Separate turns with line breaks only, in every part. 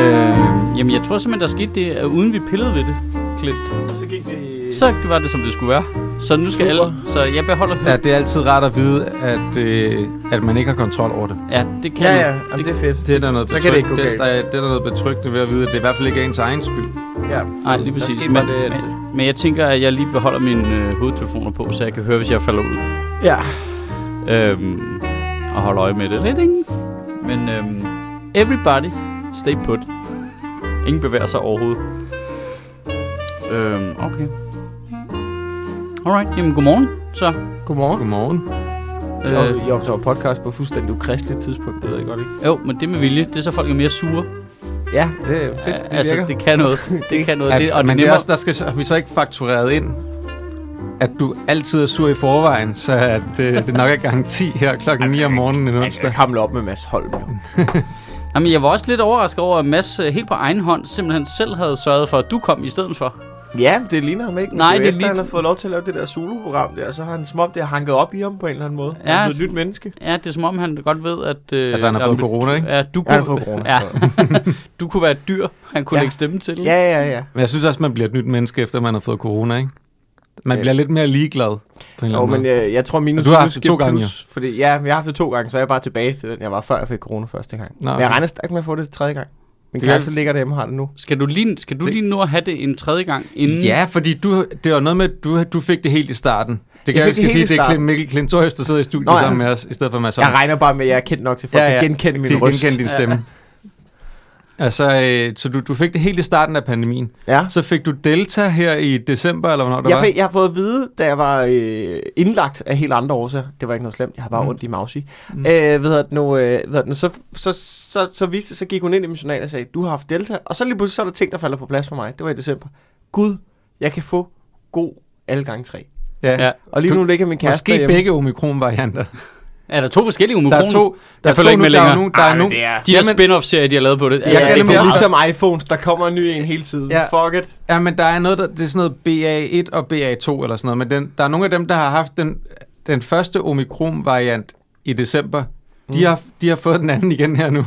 Øh, jamen, jeg tror simpelthen, der skete det, at uden vi pillede ved det, Klint,
Så gik det...
så var det, som det skulle være. Så nu skal
Super.
alle... Så jeg beholder...
Ja, det er altid rart at vide, at, øh, at man ikke har kontrol over det.
Ja, det kan
Ja,
jeg.
ja. Jamen, det er fedt.
Det er der noget,
Så kan det ikke gå
betryg- det,
galt.
der, er- det er der noget betryggende ved at vide, at det i hvert fald ikke er ens egen skyld.
Ja.
Nej, lige
Der
præcis.
skete
Men,
bare det, at-
men, men jeg tænker, at jeg lige beholder mine øh, hovedtelefoner på, så jeg kan høre, hvis jeg falder ud.
Ja.
Øhm, og holde øje med det lidt, ikke? Men øhm, everybody stay put. Ingen bevæger sig overhovedet. Øhm, okay. Alright, jamen godmorgen. Så,
Godmorgen.
Godmorgen.
øh,
Jeg optager podcast på fuldstændig ukristeligt tidspunkt, det ved jeg godt, ikke?
jo, men det med vilje, det er så folk er mere sure.
Ja, det er fedt,
Ja,
det
altså,
virker.
det kan noget. Det kan noget.
At,
det,
det,
og det er
men det er
nemmere.
også, der skal så- vi så ikke faktureret ind, at du altid er sur i forvejen, så at, øh, det nok er garanti her klokken 9 om morgenen en
Jeg skal
onsdag.
hamle op med Mads Holm. jo.
Jamen, jeg var også lidt overrasket over, at Mads øh, helt på egen hånd simpelthen selv havde sørget for, at du kom i stedet for.
Ja, det ligner ham ikke. men
Nej,
jo
det
efter,
ligner-
han har fået lov til at lave det der solo-program der, så har han som om, det har hanket op i ham på en eller anden måde.
Ja.
Ja. Han er blevet et nyt menneske.
Ja, det er som om, han godt ved, at... Øh,
Altså, han har
jamen,
fået corona, ikke?
Ja, du kunne,
Han har fået corona,
Ja, du kunne være et dyr, han kunne ja.
Ja.
lægge stemme til.
Ja, ja, ja.
Men jeg synes også, man bliver et nyt menneske, efter man har fået corona, ikke? Man
Ja.
bliver lidt mere ligeglad på en eller
Jo,
anden
men øh,
måde.
jeg, jeg tror minus...
Og du har haft
minus
det
giver
to gange,
plus, Fordi, ja, men jeg har haft det to gange, så er jeg bare tilbage til den, jeg var før jeg fik corona første gang.
Nå,
Men jeg
okay.
regner stærkt med at få det tredje gang. Min
Det er-
kæreste ligger derhjemme og har det nu.
Skal du lige, skal du
Det-
lige nu at have det en tredje gang
øh,
inden?
Ja, fordi du, det var noget med, at du, du fik det helt i starten. Det kan jeg, jeg
Jeg fik det
skal sige,
helt i
det er
starten.
Klem Mikkel Klintorius, der sidder i studiet
Nå, ja.
sammen med os, i stedet for Mads
Jeg regner bare med, at jeg er kendt nok til folk, ja, ja. at genkende min
de
røst.
genkendte din stemme. Altså, øh, så du, du fik det helt i starten af pandemien.
Ja.
Så fik du Delta her i december, eller hvornår det
Jeg,
var?
fik, jeg har fået at vide, da jeg var øh, indlagt af helt andre årsager. Det var ikke noget slemt. Jeg har bare
Mm.
mm. ondt i mausi.
Mm.
Mm. Øh, ved at nu, øh, ved at nu, så, så, så, så, viste, så gik hun ind i min journal og sagde, du har haft delta. Og så lige pludselig så er der ting, der falder på plads for mig. Det var i december. Gud, jeg kan få god alle gange tre.
Ja.
Ja.
ja.
Og lige
Du-
nu ligger min kæreste
Måske
derhjemme.
begge omikron-varianter.
Er der to forskellige
Der
omikroner?
er to. Der
Jeg
er
følger
to
ikke
nu,
med
der er
længere.
jo nogen, der er
Ej, men
nogen.
det er-
De der
Jamen-
spin-off-serier, de har lavet på det.
Jeg kan
det er
nemlig
for
også-
ligesom iPhones, der kommer en ny en hele tiden.
Ja.
Ja. Fuck it.
Ja, men der er noget, der, det er sådan noget BA1 og BA2 eller sådan noget, men den, der er nogle af dem, der har haft den, den første omikron-variant i december. Mm. De, har, de har fået den anden igen her nu.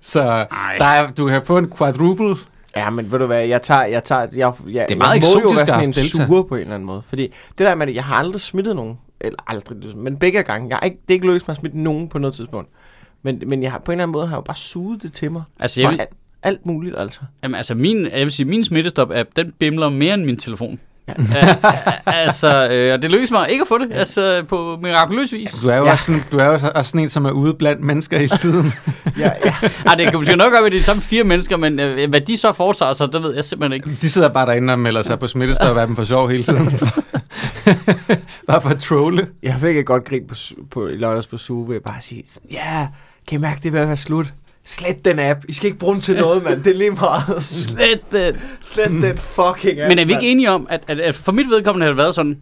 Så
Ej.
der er, du kan få en quadruple.
Ja, men ved du hvad, jeg tager, jeg tager, jeg, jeg,
Det er meget
jeg må jo
eksotisk
være
at
sådan
have
en
delta.
sure på en eller anden måde. Fordi det der med, at jeg har aldrig smittet nogen, eller aldrig, men begge gange, jeg har ikke, det er ikke lykkedes mig at smitte nogen på noget tidspunkt. Men, men jeg har, på en eller anden måde har jeg jo bare suget det til mig.
Altså,
Jeg
jeg
vil...
vil,
alt, alt muligt, altså.
jamen, altså min, jeg vil sige, min smittestop-app, den bimler mere end min telefon. Ja. altså, øh, og det lykkedes mig ikke at få det, altså på mirakuløs vis.
Du er jo, ja.
Ja.
også, sådan, du er jo også sådan en, som er ude blandt mennesker hele tiden.
Ja, ja.
Ej, det kan måske nok gøre med de samme fire mennesker, men øh, hvad de så foretager sig, det ved jeg simpelthen ikke.
De sidder bare derinde og melder sig på smittestopappen for sjov hele tiden. bare for at trolle.
Jeg fik et godt grin på, su- på i lørdags på Suge, ved at bare sige, sådan, ja, yeah, kan I mærke, det er ved at være slut? Slet den app. I skal ikke bruge den til noget, mand. Det er lige meget.
Slet den.
Slet den fucking app,
Men er vi
mand.
ikke enige om, at, at, at for mit vedkommende har det været sådan,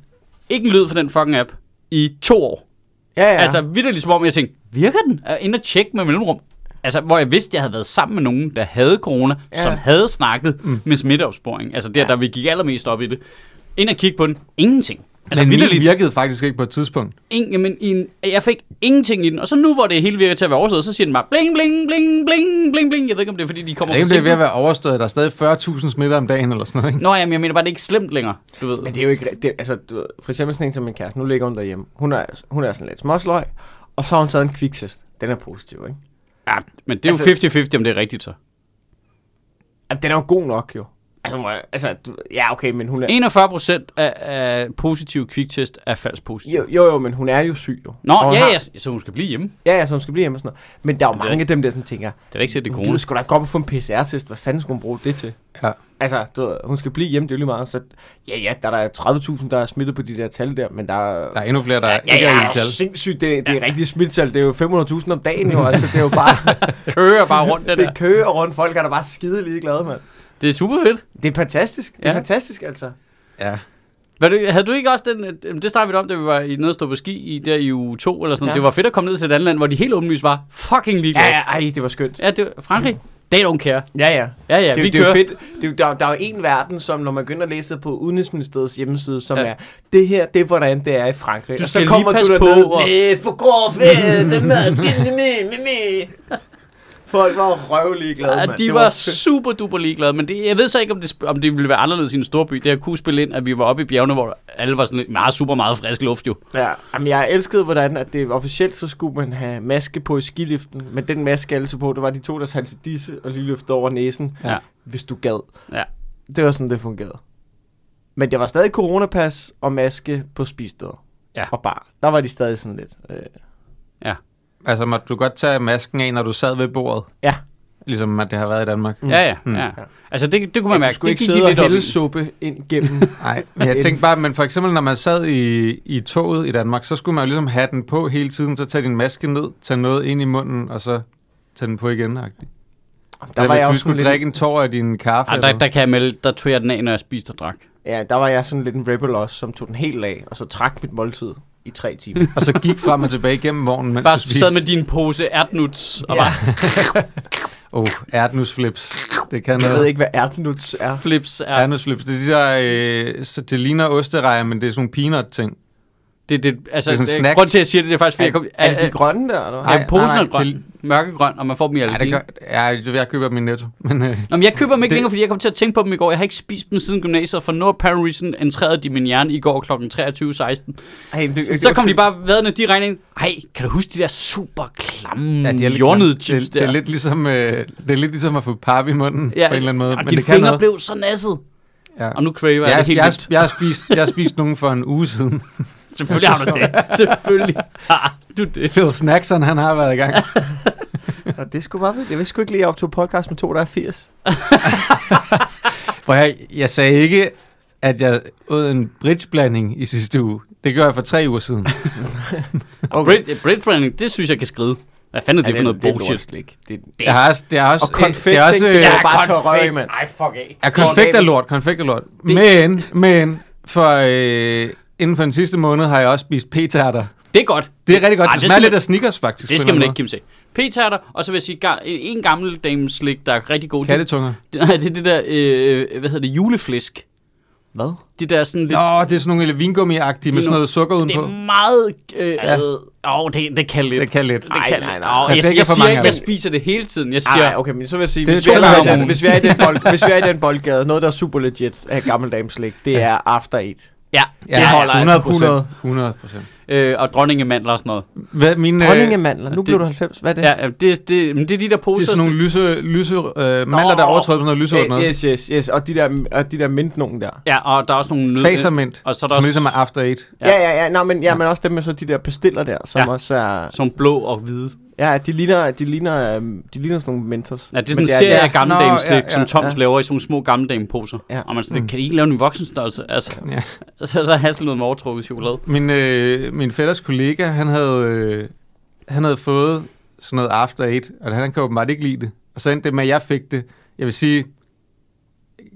ikke en lyd for den fucking app i to år?
Ja, ja.
Ja. Altså vidderligt som om, jeg tænkte, virker den? Og ind og tjekke med mellemrum. Altså, hvor jeg vidste, jeg havde været sammen med nogen, der havde corona, ja.
Ja.
som havde snakket mm. med smitteopsporing. Altså der, ja. der vi gik allermest op i det. Ind og kigge på den. Ingenting. Altså
Altså, men min
vidderligt.
virkede faktisk ikke på et tidspunkt.
Ingen, jamen, i en, jeg fik ingenting i den. Og så nu, hvor det hele virker til at være overstået, så siger den bare bling, bling, bling, bling, bling, bling. Jeg ved ikke, om det er, fordi de kommer
Jeg ved ikke, om det er ved
sent.
at være overstået. Der er stadig 40.000 smitter om dagen eller sådan noget, ikke?
Nå, jamen, jeg mener bare, det er ikke slemt længere, du ved.
Men det er jo ikke... Det, altså, du, ved, for eksempel sådan en som min kæreste, nu ligger hun derhjemme. Hun er, hun er sådan lidt småsløg, og så har hun taget en kviksest. Den er positiv, ikke?
Ja, men det er jo 50-50,
Altså-
om det er rigtigt så.
Jamen, den er jo god nok, jo. Altså, hun er- altså du, ja, okay, men hun er...
41 procent af, af positive kviktest er falsk positiv.
Jo, jo, jo, men hun er jo syg, jo.
Nå,
Og hun
ja,
har-
ja, så hun skal blive hjemme.
Ja, ja, så hun skal blive hjemme og sådan noget. Men der er jo mange af dem der, som tænker,
Det er da ikke sikkert, det er
hun
corona.
gider sgu da ikke gå op og få en PCR-test. Hvad fanden skulle hun bruge det til?
Ja.
Altså, du, ved, hun skal blive hjemme, det er jo lige meget. Så ja, ja, der er der 30.000, der er smittet på de der tal der, men der er...
Der er endnu flere, der
ja,
ikke
ja,
er i
og
tal.
Sindssygt, det, det er rigtige smittetal. Det er jo 500.000 om dagen jo, altså det er jo bare...
kører bare rundt den der.
det kører rundt. Folk er da bare skide ligeglade, mand.
Det er super fedt.
Det er fantastisk. Det er
Ja.
fantastisk, altså.
Ja.
Var du, havde du ikke også den, øh, det snakkede vi om, da vi var i nede og stå på ski i, der i uge 2 eller sådan noget.
Ja.
Det var fedt at komme ned til et andet land, hvor de helt åbenlyst var fucking ligeglade.
Ja, ja, ej, det var skønt.
ja det var Frankrig. They don't care.
Ja, ja.
Ja, ja,
det,
vi
vi det er
kører.
jo fedt. Det er, jo- der, der er jo en verden, som når man begynder at læse på Udenrigsministeriets hjemmeside, som
Ja.
ja. er, det her, det er, hvordan det er i Frankrig.
Du skal
og så
lige
kommer
passe
du
på, og-
Næh, for grov, øh, den der skinne, me, me, me. Folk var røvelig glade,
Ja,
mand.
de
Det
var
fedt.
super duper ligeglade, men det, jeg ved så ikke, om det, sp- om det ville være anderledes i en storby. Det her kunne spille ind, at vi var oppe i bjergene, hvor alle var sådan lidt meget, super meget frisk luft jo.
Ja, jamen, jeg elskede, hvordan at det officielt, så skulle man have maske på i skiliften, men den maske, alle så på, det var de to, der talte disse og lige løftede over næsen,
Ja.
hvis du gad.
Ja.
Det var sådan, det fungerede. Men der var stadig coronapas og maske på spissteder.
Ja.
Og bar. Der var de stadig sådan lidt. Øh,
Altså, måtte du godt tage masken af, når du sad ved bordet?
ja.
Ligesom at det har været i Danmark.
Ja, ja,
Mm.
ja. Altså, det, det kunne man
At
mærke.
du skulle
Det
ikke
gik de
sidde og
lidt op i.
hælde suppe ind gennem.
Nej, men jeg tænkte bare, men for eksempel, når man sad i, i toget i Danmark, så skulle man jo ligesom have den på hele tiden, så tage din maske ned, tage noget ind i munden, og så tage den på igen. agtigt.
der var jeg
du
også sådan
skulle
lidt,
drikke en tår af din kaffe.
Ej,
eller
der, der, kan jeg melde, der tog jeg den af, når jeg spiste og drak.
ja, der var jeg sådan lidt en rebel også, som tog den helt af, og så trak mit måltid i tre timer.
Og så gik frem og tilbage igennem vognen, mens
Bare
du spiste.
sad med din pose ærtnuts og bare
Åh, oh, ærtnusflips. Det kan
jeg
noget.
ved ikke, hvad ærtenuts er.
flips. Er,
Ærtnusflips, det er de der, øh, så det ligner osterejer, men det er sådan nogle peanut-ting.
det, det, altså,
Det er sådan en
det,
snack.
grund til, at jeg siger det, det er faktisk, fordi jeg kom...
Er det de grønne der, eller hvad?
Nej,
Ja, posen
nej,
er
nej,
grøn, mørkegrøn, og man får dem i
Ja, det
allergi.
gør, ja, jeg køber dem i netto. Men, øh,
Nå, men jeg køber dem ikke det...
Det-
længere, fordi jeg kom til at tænke på dem i går. Jeg har ikke spist dem siden gymnasiet, og for no apparent reason entrerede de min hjerne i går kl. 23.16.
Ej, men det,
Så kom de bare vadende direkte ind. Ej, kan du huske de der super klamme, ja, de
lidt
jordnede
klamt.
chips
det, det, er
der?
lidt ligesom, øh, det er lidt ligesom at få pap i munden ja, på en eller anden måde.
Og
men
dine
det kan
fingre
noget.
blev så nasset.
ja.
Og nu craver jeg,
jeg,
det
jeg,
helt
jeg,
vildt.
jeg, har spist, jeg har spist nogen for en uge siden.
Selvfølgelig har du det. Selvfølgelig har du det.
Phil Snackson, han har været i gang.
Nå, det er sgu meget fedt. Jeg vidste sgu ikke lige, at jeg optog podcast med to, der er 80.
For jeg, jeg sagde ikke, at jeg åd en bridgeblanding i sidste uge. Det gør jeg for tre uger siden.
Okay. Brit, Brit Branding, det synes jeg kan skride. Hvad fanden er det,
Ja,
for noget
det er
bullshit?
lorteslik. Det, det,
Jeg har også, det er også,
Og konfekt,
det er også,
ikke? Det er
øh,
bare tør røg i, mand.
Ej, fuck af.
Ja, konfekt er lort, konfekt er lort. Men, men, for øh, inden for den sidste måned har jeg også spist p-tærter.
Det er godt.
Det er
Ej, det
rigtig godt. Ej, det, smager
skal
lidt
man-
af Snickers, faktisk.
Det
på
skal
en
man
eller
ikke, Kim se. P-tærter, og så vil jeg sige, ga- en, en gammel dame slik, der er rigtig god.
anden måde. Kattetunger.
Det, nej, det er det der, øh, hvad hedder det, juleflæsk.
Hvad?
Det der sådan lidt...
Nå, det er sådan nogle vingummi-agtige med sådan noget sukker
det
udenpå.
er meget... Øh,
Ja.
ja. Åh, det, det kan lidt.
Det kan lidt.
Det
Ej,
kan
nej,
lidt.
nej.
Åh,
Man skal
jeg,
ikke
jeg,
have for
siger
mange
ikke,
af
at jeg
dem.
spiser det hele tiden. Jeg
Nej,
siger,
nej, okay, men så vil jeg sige,
Det er
hvis vi, er
to gange
i
om
den,
ugen.
hvis, vi er i den bold, hvis vi er i den boldgade, noget, der er super legit af gammel dameslik, det er After Eight.
ja, det holder altså.
100 procent. 100 procent.
Øh, og dronningemandler og sådan noget.
Hvad, mine, øh, det
Dronningemandler, nu
det-
blev du 90, hvad er det?
Ja, ja, det, det, men det er de der poser.
er sådan nogle lyse, lyse øh, mandler, der
Nå.
overtræder på sådan noget lyserødt
Øh,
noget.
yes, yes, yes, og de der, og de der mint nogen der.
Ja, og der er også nogle nød...
Fasermint,
Og så er der
som
også
ligesom er After Eight.
Ja.
Ja, ja, ja, nej, men, ja, men også dem med så de der pastiller der, som
Ja.
ja. også er...
som blå og hvide.
Ja, de ligner, de ligner, øhm, de ligner sådan nogle mentors.
Ja, det er sådan
Men
en serie
ja,
af gamle
Nå,
dames
ja,
slik,
ja,
som Toms
ja.
laver i sådan nogle små gamle dameposer.
Ja.
Og man er sådan, kan I ikke lave en voksenstørrelse? Altså,
Ja.
så, så er Hasselnød med overtrukket chokolade.
Min, øh, min fætters kollega, han havde, øh, han havde fået sådan noget After Eight, og han kan åbenbart ikke lide det. Og så endte det med, at jeg fik det. Jeg vil sige,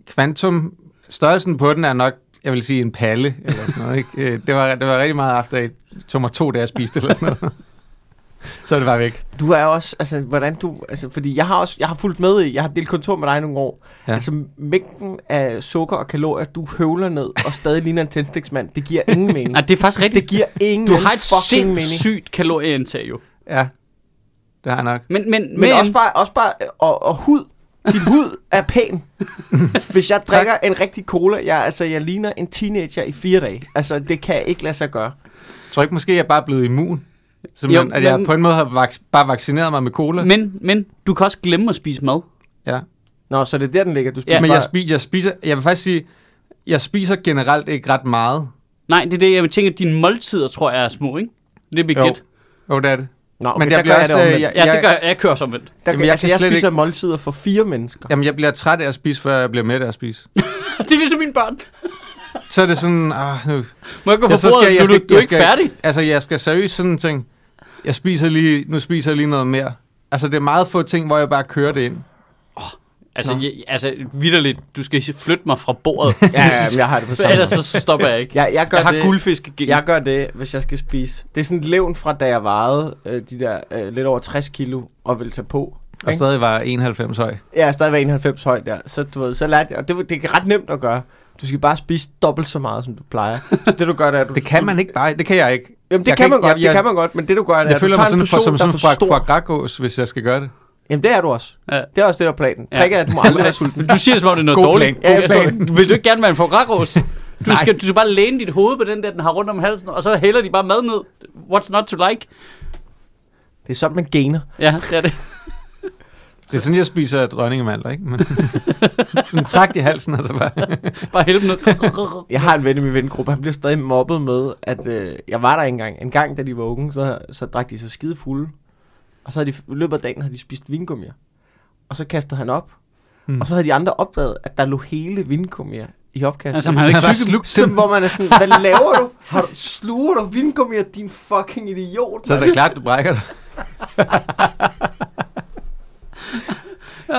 kvantum, størrelsen på den er nok, jeg vil sige, en palle eller sådan noget. Ikke? Øh, Det, var, det var rigtig meget After Eight. Det tog mig to dage at spise det eller sådan noget. Så er det bare væk.
Du er også, altså, hvordan du, altså, fordi jeg har også, jeg har fulgt med i, jeg har delt kontor med dig i nogle år.
Ja.
Ja. Altså, mængden af sukker og kalorier, du høvler ned og stadig ligner en tændstiksmand, det giver ingen mening.
Nej, det er faktisk rigtigt.
det giver ingen
Du har et
fucking mening.
sindssygt kalorieindtag jo.
Ja, det har jeg nok.
Men, men, men,
Men, også bare, også bare øh, og, og hud. Din hud er pæn. Hvis jeg drikker en rigtig cola, jeg, altså, jeg ligner en teenager i fire dage. Altså, det kan jeg ikke lade sig gøre.
Jeg tror ikke måske, jeg er bare blevet immun. Simpelthen,
Jo,
jo, at jeg
men-
på en måde har vak- bare vaccineret mig med cola.
men, men, du kan også glemme at spise mad.
ja.
Nå, så det er der, den ligger. Du spiser
Ja.
Men
bare,
jeg, spi- jeg spiser, jeg vil faktisk sige, jeg spiser generelt ikke ret meget.
Nej, det er det, jeg tænker, at dine måltider, tror jeg, er små, ikke? Det er
Jo,
begæt.
jo det er det.
Nå, okay,
men
men
jeg
der
bliver
gør jeg
også,
det
øh,
omvendt.
jeg-
Jeg,
Ja, det gør jeg. Jeg kører som vendt.
der,
jamen,
jeg,
jeg
altså,
kan
jeg
slet
spiser ikke... måltider for fire mennesker.
Jamen, jeg bliver træt af at spise, før jeg bliver med af at spise.
det er ligesom mine børn.
Så er det sådan, ah, nu.
Må jeg gå
Ja,
på bordet? Du, du, du er ikke færdig.
Altså, jeg skal seriøst sådan ting. Jeg spiser lige, nu spiser jeg lige noget mere. Altså, det er meget få ting, hvor jeg bare kører det ind.
Altså,
Nå.
jeg, altså vidderligt, du skal flytte mig fra bordet.
Ja, ja, men jeg har det på
For
samme
ellers
måde.
så stopper jeg ikke.
Jeg, jeg, gør
Jeg har
det,
guldfisk igen.
jeg gør det, hvis jeg skal spise. Det er sådan et levn fra, da jeg vejede øh, de der øh, lidt over 60 kilo og ville tage på.
Og
Ikke?
stadig var 91 høj.
Jeg er stadigvæk 91 høj der, så, du ved, så lærte jeg, og det, var- det er ret nemt at gøre. Du skal bare spise dobbelt så meget, som du plejer. Så det du gør, det er, at du...
Det kan man ikke bare. Det kan jeg ikke.
Jamen, det
jeg
kan,
kan
man
ikke-
godt,
jeg-
det
jeg-
kan man godt, men det du gør, det er,
Jeg,
at du
føler mig
tager
sådan,
en
for,
portion,
som, sådan
der er for
fra,
stor.
fra Grakos, hvis jeg skal gøre det.
Jamen, det er du også.
Ja.
Det er også det, der er planen.
Ja.
Trik er, at du må aldrig være sulten.
Men du siger det, som om det er noget
God
dårligt.
plan.
Ja,
God
jeg forstår
plan.
Vil du ikke gerne være en fograros? Du
Nej.
skal, du skal bare læne dit hoved på den der, den har rundt om halsen, og så hælder de bare mad ned. What's not to like?
Det er sådan, man gainer.
Ja, det er det.
Det er sådan, jeg spiser dronningemandler, ikke? Men, en trakt i halsen, altså bare.
Bare hælde dem ned.
Jeg har en ven i min vennegruppe, han bliver stadig mobbet med, at øh, jeg var der engang. En gang, da de var unge, så, så drak de sig skide fulde. Og så havde de, i løbet af dagen havde de spist vingummier. Og så kastede han op.
Hmm.
Hmm. Og så havde de andre opdaget, at der lå hele vingummier i opkastet.
Altså, man har
Han har
ikke
bare
tykket
slugt
så,
dem.
hvor man er sådan, hvad laver du? Har du sluger du vingummier, din fucking idiot?
Så er
mand?"
det klart, du brækker dig.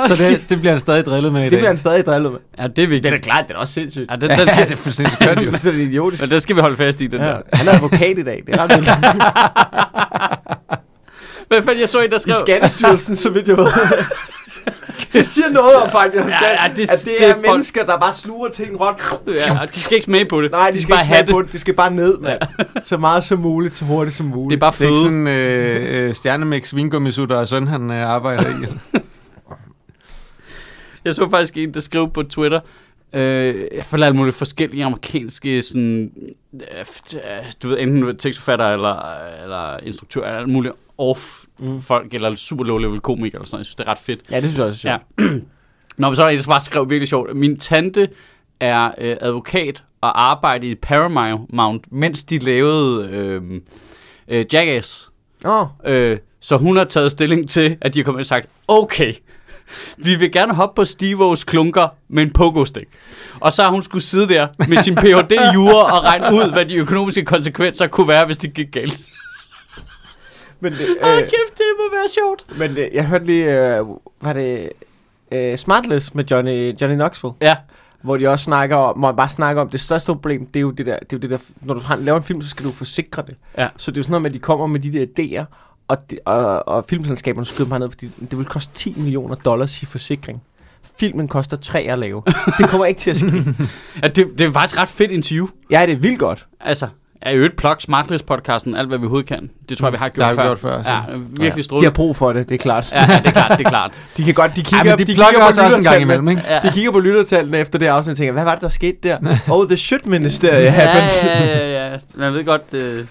så det, det bliver han stadig drillet med i
det
dag.
bliver han stadig drillet med.
Ja, det er vigtigt.
klart, det er også sindssygt.
Ja,
Ja,
den, den,
ja,
skal,
det er fuldstændig kørt
det
jo.
er fuldstændig idiotisk.
men den skal vi holde fast i, den
Ja,
der.
han er advokat i dag. Det er ret vildt.
Hvad fanden, jeg så en, der
I
skrev...
Skattestyrelsen, så vidt jeg ved. det siger noget om faktisk, ja,
ja,
ja,
det-
det, at det,
det
det
er
er,
folk-
mennesker, der bare sluger ting rundt.
Ja, og de skal ikke smage på det.
Nej, de skal
bare
ikke smage
have
på det. De skal bare ned, mand. Så meget som muligt, så hurtigt som
Det
muligt.
er bare
Det er ikke
føde.
sådan øh, øh, stjernemix, vingummisutter og søn, han øh, arbejder i.
Jeg så faktisk en, der skrev på Twitter, øh, jeg følger alle mulige forskellige amerikanske, sådan, øh, f- øh, du ved, enten tekstforfatter eller, eller instruktør, eller alle mulige off
Mm.
folk, eller super low level komikere, eller sådan noget. Jeg synes, det er ret fedt.
Ja, det synes jeg også er sjovt.
Ja. Nå, men så er der en, der bare skrev virkelig sjovt. Min tante er øh, advokat og arbejder i Paramount, mens de lavede øh, øh, Jackass.
Åh, oh,
Øh, så hun har taget stilling til, at de har kommet og sagt, okay, vi vil gerne hoppe på Stivos klunker med en pogo-stik. Og så har hun skulle sidde der med sin Ph.D. i jura og regne ud, hvad de økonomiske konsekvenser kunne være, hvis det gik galt.
men, det,
Åh,
øh,
kæft, det må være sjovt.
men øh, jeg hørte lige, øh, var det øh, Smartless med Johnny, Johnny Knoxville?
Ja,
Hvor de også snakker om, hvor man bare snakker om, det største problem, det er jo det der, det er jo det der når du har, laver en film, så skal du forsikre det.
Ja.
Så det er jo sådan noget med, at de kommer med de der idéer, og, de, og, og filmselskaberne skyder dem herned, fordi det vil koste 10 millioner dollars i forsikring. Filmen koster 3 at lave. Det kommer ikke til at ske.
ja det, det er faktisk ret fedt interview.
Ja, det er vildt godt.
Altså, er jo et plug Smartless-podcasten, alt hvad vi overhovedet kan. Det tror jeg, vi har gjort
har vi
før.
gjort før, altså. så.
Ja, virkelig
De
strålende.
har brug for det, det er klart.
Ja, ja, det er klart, det er klart.
De kan godt, de
Ej,
kigger,
men de, de plukker
på
også, også en gang
lyttertallene.
imellem, ikke?
Ja.
De kigger på lyttertallene efter det afsnit og tænker, hvad var det, der skete der? Oh, the shit ministerie
Ja,
happens.
ja, ja, ja. Man ved godt, øh,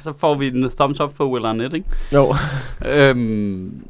så får vi en thumbs up for Will Arnett, ikke?
Jo.
Øhm,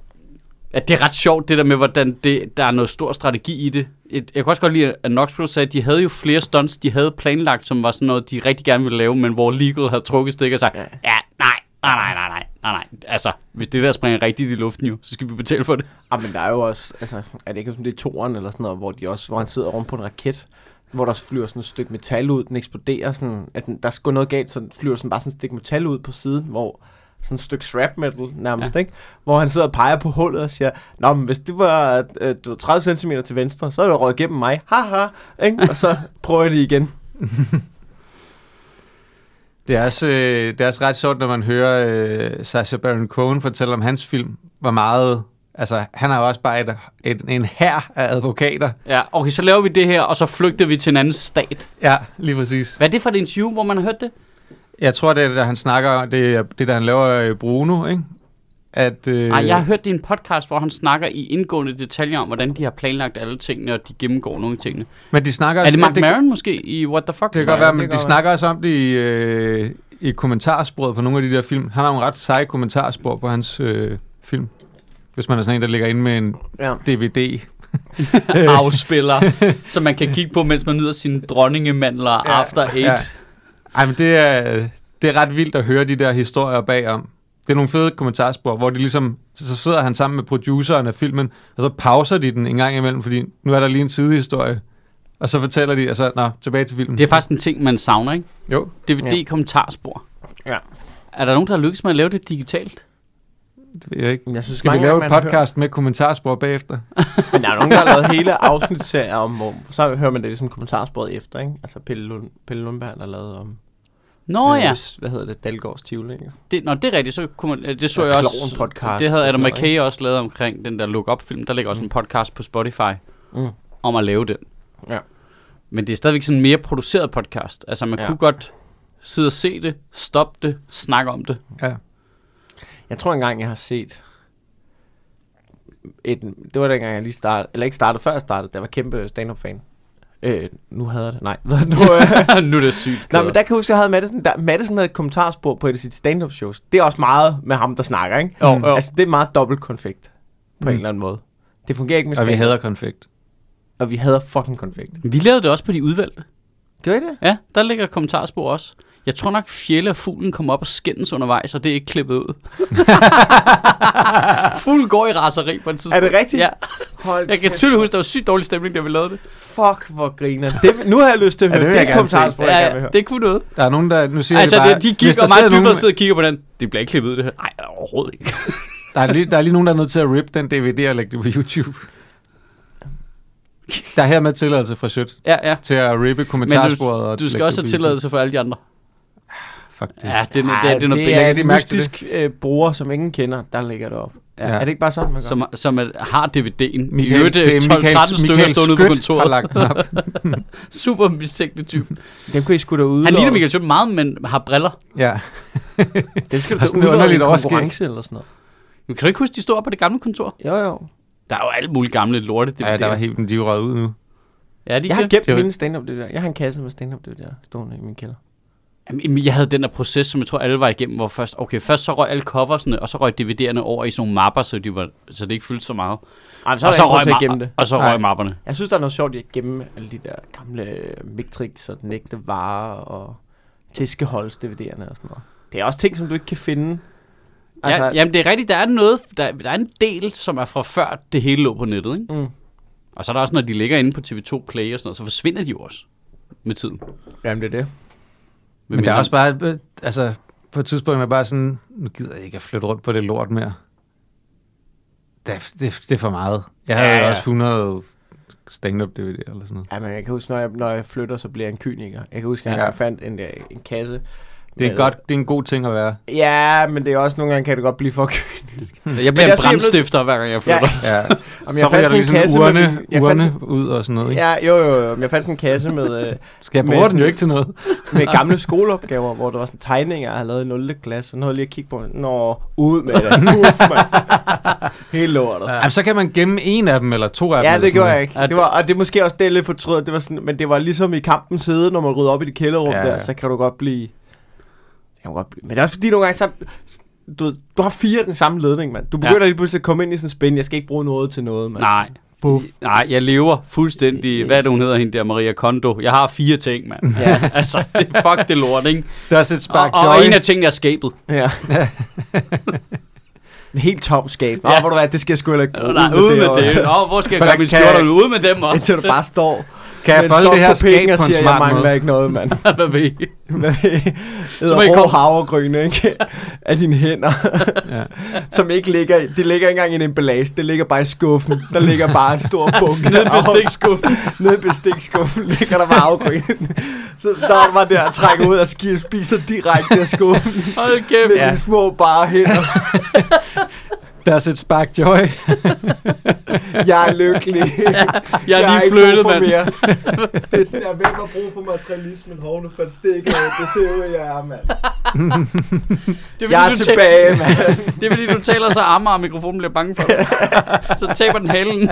at det er ret sjovt, det der med, hvordan det, der er noget stor strategi i det. Et, jeg kunne også godt lide, at Knoxville sagde, at de havde jo flere stunts, de havde planlagt, som var sådan noget, de rigtig gerne ville lave, men hvor Legal havde trukket stik og sagt, ja, nej, nej, nej, nej, nej, nej, nej. Altså, hvis det der springer rigtigt i luften jo, så skal vi betale for det.
Ah, men der er jo også, altså, er det ikke sådan, det er toren eller sådan noget, hvor, de også, hvor han sidder oven på en raket, hvor der flyver sådan et stykke metal ud, den eksploderer sådan, at den, der skulle noget galt, så flyver sådan bare sådan et stykke metal ud på siden, hvor sådan et stykke scrap metal nærmest, ja. ikke? Hvor han sidder og peger på hullet og siger, Nå, men hvis det var øh, du ved, 30 cm til venstre, så er det røget gennem mig. Haha, ikke? Og så prøver jeg det igen.
Det er, også, øh, det er også ret sjovt, når man hører øh, Sacha Baron Cohen fortælle om hans film, hvor meget... Altså, han har jo også bare et, et, en hær af advokater.
Ja, okay, så laver vi det her, og så flygter vi til en anden stat.
Ja, lige præcis.
Hvad er det for et interview, hvor man har hørt det?
Jeg tror, det er, da han snakker, det er det, der han laver øh, Bruno, ikke? At, øh,
Nej, Ah, jeg har hørt det i en podcast, hvor han snakker i indgående detaljer om, hvordan de har planlagt alle tingene, og de gennemgår nogle af tingene.
Men de snakker
Er det Mark
det, det,
Maron måske i What the Fuck?
det kan
tror
godt
jeg?
være,
det
men
kan
de
godt
snakker også om det i, øh, i kommentarsporet på nogle af de der film. Han har jo en ret sej kommentarspor på hans øh, film. Hvis man er sådan en, der ligger inde med en
Ja.
DVD.
Øh.
afspiller, som man kan kigge på, mens man nyder sine dronningemandler ja, after eight. Ja.
Ja. Ej, men det er, det er ret vildt at høre de der historier bagom. Det er nogle fede kommentarspor, hvor de ligesom, så sidder han sammen med produceren af filmen, og så pauser de den en gang imellem, fordi nu er der lige en sidehistorie. Og så fortæller de, altså, nå, tilbage til filmen.
Det er faktisk en ting, man savner, ikke?
Jo,
DVD-kommentarspor.
Ja.
Er der nogen, der har lykkes med at lave det digitalt?
det ved jeg ikke.
Men Jeg synes,
Skal vi
mange
lave
gange,
et
man har hørt-
podcast med kommentarspor bagefter?
Men der er nogen, der har lavet hele afsnitsserier om, hvor, så hører man det ligesom kommentarsporet efter, ikke? Altså Pelle, Lund, Pelle Lundberg, der lavede om
Nå ja,
Hos, hvad hedder det? Dalgårds Tivoli, ikke?
det, nå, det er rigtigt, så kunne man, øh, det så
Ja,
jeg også,
Klovn podcast
det havde
og
Adam
sådan noget,
McKay også lavet omkring den der look up film, der ligger også en podcast på Spotify
Mm.
om at lave den.
Ja.
Men det er stadigvæk sådan en mere produceret podcast, altså man
Ja.
kunne godt sidde og se det, stoppe det, snakke om det.
Ja.
Jeg tror engang, jeg har set... Et, det var dengang, jeg lige startede... Eller ikke startede, før jeg startede. Jeg var kæmpe stand-up-fan. Øh, nu havde jeg det. Nej, hvad nu? Øh,
nu er det sygt.
Nej, men der kan jeg huske, jeg havde Madison, der, Madison havde et kommentarspor på et af sit stand-up shows. Det er også meget med ham, der snakker, ikke?
Jo, jo.
Altså, det er meget dobbelt konfekt, på
Mm.
en eller anden måde. Det fungerer ikke med
Og vi
stand-up,
hader konfekt.
og vi hader fucking konfekt.
Vi lavede det også på de udvalgte.
Gør I det?
Ja, der ligger kommentarspor også. Jeg tror nok, Fjelle og fuglen kommer op og skændes undervejs, og det er ikke klippet ud. fuglen går i raseri på et tidspunkt.
Er det rigtigt?
Ja.
Hold
Jeg kan
kæft.
tydeligt huske, der var sygt dårlig stemning, da vi lavede det.
Fuck, hvor griner. Det, vil- nu har jeg lyst til at
Ja,
høre
det vil
det,
jeg
det
gerne
kommentarspor, jeg gerne vil høre.
ja, det kunne noget.
Der er nogen, der... Nu siger
Altså,
jeg det bare,
det, de
hvis
gik,
der
og
sidder
mig
nogen-
dybere sidder og kigger på den. Det bliver ikke klippet ud, det her. Nej, overhovedet ikke.
Der er, lige, der er lige nogen, der er nødt til at rip den DVD og lægge det på YouTube. Der er hermed tilladelse fra Sødt
Ja, ja.
til at rippe
Men du,
kommentarsporet. og
du skal
lægge
også
det
have
på YouTube.
tilladelse for alle de andre.
Fuck det.
Ja, det, er no- det, er- det er noget
det er
billede,
de
en
mærke til
mystisk øh, bruger, som ingen kender, der ligger det op.
Ja.
Ja. Er det ikke bare sådan, man gør?
som, som er, har DVD'en.
Michael,
Michael, det er 12-13 øh, stykker
Michael
stående på
Skødt Har
kontoret.
lagt den op.
Super mistænkelig type.
Dem kunne I sgu da ude.
Han ligner Michael Schødt meget, men har briller.
ja.
Dem skal
Og
du
sådan noget
da udlåde i
underligt
en
overskæg.
konkurrence eller sådan noget.
Men kan du ikke huske, de stod op på det gamle kontor?
Jo, jo.
Der er jo alle mulige gamle lorte. Det,
ja, der var helt de er jo røget ud nu.
ja, de
Jeg
jeg,
har
det?
gemt
Det er jo-
mine stand-up det der. Jeg har en kasse med stand-up det der stående i min kælder.
Jamen, jeg havde den der proces, som jeg tror, alle var igennem, hvor først, okay, først så røg alle coversne, og så røg DVD'erne over i sådan nogle mapper, så, de var, så det ikke fyldte så meget.
Ej,
og, så røg
jeg
ma-
gemme det. Altså,
og så
Nej.
røg mapperne.
Jeg synes, der er noget sjovt i at gemme alle de der gamle øh, Victrix og den ægte vare og Tiskeholds DVD'erne og sådan noget. Det er også ting, som du ikke kan finde.
Altså, ja, jamen, det er rigtigt, der er noget, der, der er en del, som er fra før det hele lå på nettet, ikke?
Mm.
Og så er der også, når de ligger inde på TV2 Play og sådan noget, så forsvinder de jo også med tiden.
Jamen, det er det.
Men der er også bare, øh, altså på et tidspunkt er jeg bare sådan, nu gider jeg ikke at flytte rundt på det lort mere. Det, er- det, er- det er for meget. Jeg havde
Ja,
ja,
ja.
ja. også 100 stand-up DVD'er eller sådan noget.
Jamen, jeg kan huske, når jeg, når jeg flytter, så bliver jeg en kyniker. Jeg kan huske, at jeg
Ja.
ja. fandt en, øh, en kasse.
Det er,
med-
godt, det er en god ting at være.
Ja, men det er også nogle gange, kan det godt blive for
Jeg bliver en
Men jeg siger, jeg bliver-
brandstifter, hver gang jeg flytter. Ja.
Ja.
Jamen,
så ryger der
sådan en
lige sådan
kasse
en urne,
med- jeg fandt
urne ud og sådan noget. Ikke? Ja.
Ja, jo, jo, jo. Men jeg fandt sådan en kasse med, øh,
Skal jeg
med
bruge den
sådan-
jo ikke til noget?
med gamle skoleopgaver, hvor der var sådan tegninger, jeg havde lavet i 0. klasse. Og noget lige at kigge på. Nå, ud med det. Uff, mand. Helt lortet.
Jamen, så kan man gemme en af dem, eller to af dem.
Ja,
eller
det
sådan
gjorde
noget.
jeg ikke.
Ja,
Det var, og det er måske også det, jeg lidt fortryder. Det var sådan, men det var ligesom i kampens hede, når man rydder op i det kælderrum
Ja,
ja,
ja.
der, så kan du godt blive... Det kan godt blive. Men det er også fordi, nogle gange så... Du, ved, du har fire af den samme ledning, mand. Du begynder ja. lige pludselig at komme ind i sådan en spænd. Jeg skal ikke bruge noget til noget, mand.
Nej.
Fuff.
Nej, jeg lever fuldstændig, hvad er det, hun hedder hende der, Maria Kondo. Jeg har fire ting, mand.
Ja.
altså, det, fuck det lort, ikke?
Det er også et
Og,
spark
og,
joy.
en af tingene er skabet.
Ja. en helt tom skab. Nå,
Ja.
ja. hvor du hvad, det skal jeg sgu heller ikke bruge.
Nej, ud med
også.
det. Nå, hvor skal jeg
For
gøre
der
min
kan-
skjorter ud? Ud med dem også.
Indtil du bare står
Kan jeg
med en
folde
sok
det her
på
skab
pikken og
på en
siger, jeg
smart
mangler
måde?
ikke noget, mand.
Hvad ved I?
Hvad
må I
hedder rå
komme-
havregryn, ikke? Af dine hænder.
Ja.
som ikke ligger, i- det ligger ikke engang i en emballage, det ligger bare i skuffen. Der ligger bare en stor bunke.
Ned i bestikskuffen.
af- Nede i bestikskuffen ligger der bare afgrøn. så står der bare der og trækker ud og skiver, spiser direkte af skuffen
Hold kæft.
med ja. de små bare hænder.
Der er også et spark joy.
Jeg er lykkelig.
Jeg er lige
ikke brug
flyttet,
for
mand.
mere. Det er sådan, jeg hvem har brug for materialismen? Hov, nu fandt det ikke af. Det ser ud, jeg er, mand.
Det er, fordi,
Jeg er
du tæ-
tilbage, mand.
Det er fordi, du taler så armer, og mikrofonen bliver bange for dig. så taber den halen.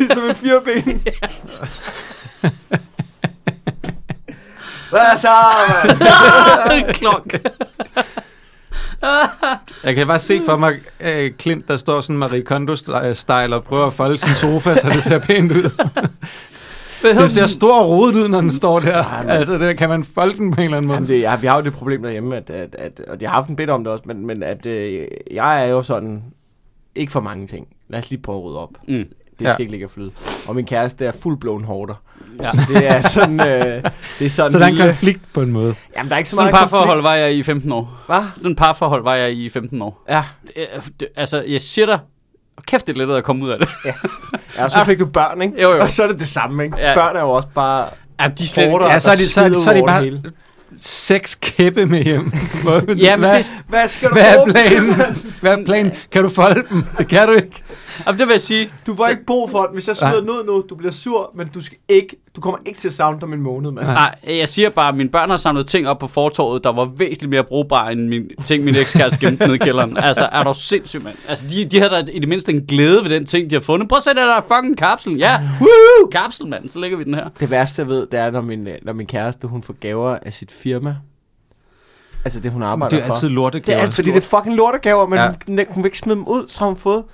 Ligesom en firben. Hvad så, mand?
Klok.
Jeg kan bare se for mig øh, Klint, der står sådan Marie Kondo-style og prøver at folde sin sofa, så det ser pænt ud.
Hvad
Det
hedder
ser
den?
stor og rodet ud, når den står der. Altså, det kan man folde den på en eller anden måde.
Jamen, det, ja, vi har jo det problem derhjemme, at, at, at, og jeg har haft en bit om det også, men, men at øh, jeg er jo sådan, ikke for mange ting. Lad os lige prøve at rydde op.
Mm.
Det
Ja.
skal ikke ligge og flyde. Og min kæreste er fuldblåen hårder.
Ja.
Ja. Så det er sådan, øh, det er sådan,
Så der er en
lille-
konflikt på en måde.
Jamen, der er ikke så
Sådan
meget
et parforhold var jeg i 15 år.
Hva?
Sådan et parforhold var jeg i 15 år.
Ja.
Det, er- det, altså, jeg siger dig, kæft, det er lettere at komme ud af det.
ja, og så
Ah.
fik du børn, ikke?
Jo, jo.
Og så er det det samme, ikke?
Ja.
Ja. Børn er jo også bare...
Ja, de er slet,
Hårdere.
ikke-
Ja, så er de, så,
skidt ud
så er de
over det
bare
hele.
seks kæppe med hjem. Hvor-
Ja, men
hvad,
det,
Hvad skal du
hvad er
bruge?
planen? Hvad er planen? Kan du folde dem? Det kan du ikke.
jamen, det vil jeg sige.
Du får ikke brug for den. Hvis jeg
Nej.
smider den ud nu, du bliver sur, men du, skal ikke, du kommer ikke til at savne dem en måned, mand.
Nej, Ah, jeg siger bare, at mine børn har samlet ting op på fortorvet, der var væsentligt mere brugbare end min, ting, min ekskæreste gemte nede i kælderen. Altså, er du sindssyg, mand? Altså, de, de havde da i det mindste en glæde ved den ting, de har fundet. Prøv at se, der er fucking kapsel. Ja, woo, kapsel, mand. Så lægger vi den her.
Det værste jeg ved, det er, når min, øh, når min kæreste, hun får gaver af sit firma. Altså det, hun arbejder
Det er
for.
altid lortegaver.
Det er altid-
Fordi det er fucking lortegaver, men
Ja.
ja. hun, hun, vil ikke smide dem ud, så har hun fået...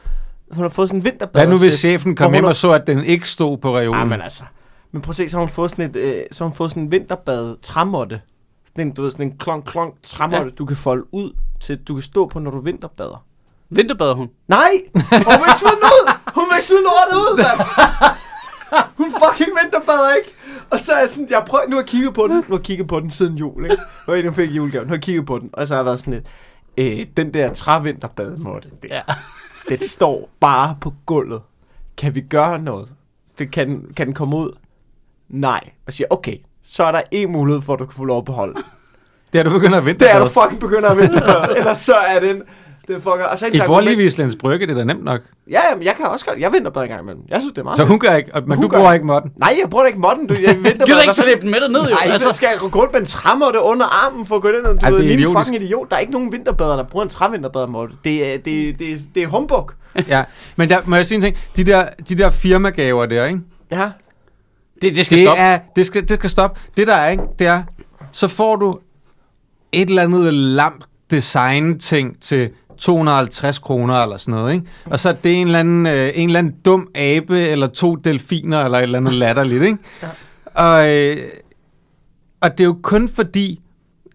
Hun har fået sådan en vinterbad.
Hvad nu hvis chefen kom
Hvor
hjem
hun-
og så, at den ikke stod på reolen?
Ah, men altså. Men prøv at se, så har hun fået sådan, et, øh, så har hun fået sådan en vinterbad træmåtte. Sådan en, du ved, sådan en klonk, klonk træmåtte, ja. du kan folde ud til, du kan stå på, når du vinterbader.
Vinterbader hun.
Nej! Hun vil smide den ud! Hun vil smide lortet ud, mand! Hun fucking vinterbader, ikke? Og så er jeg sådan, jeg prøver, nu har jeg kigget på den, nu har jeg kigget på den siden jul, ikke? Nu har jeg fik julegave, nu har jeg kigget på den, og så har jeg været sådan lidt, øh, den der trævinterbademåtte, det,
Ja.
den står bare på gulvet. Kan vi gøre noget? Det kan, den- kan den komme ud? Nej. Og siger, okay, så er der en mulighed for, at du kan få lov at beholde. den.
Det er du begyndt at vente
Det er du fucking begynder at vente på. Ellers så er den... Det er fucker. Og så hendes
I bor lige
argument-
ved Islands Brygge, det er da nemt nok.
Ja, jamen, jeg kan også godt. Jeg venter bare en gang imellem. Jeg synes, det er meget
Så
fedt.
hun gør ikke, og- men
Hun
du
gør
bruger
ikke.
ikke modden.
Nej, jeg bruger da ikke modden. Du, jeg venter
Gider
bare-
ikke
Hvad-
slæbe den med derned, jo.
Nej, altså...
altså,
skal jeg gå rundt med en træmåtte under armen for at gå ind og du
Ej,
ved,
det er
lige en
idiotisk.
fucking idiot. Der er ikke nogen vinterbader, der bruger en trævinterbadermåtte. Det er, det, det, det er humbug.
Ja. Men der, må jeg sige en ting? De der, de der firmagaver der, ikke?
Ja.
det, det skal
Det,
stoppe.
er, det, skal, det skal stoppe. Det der er, ikke? Det er, så får du et eller andet lamt design ting til 250 kroner eller sådan noget, ikke? Og så er det en eller anden, øh, en eller anden dum abe eller to delfiner eller et eller andet latterligt, ikke? Og, øh, og det er jo kun fordi,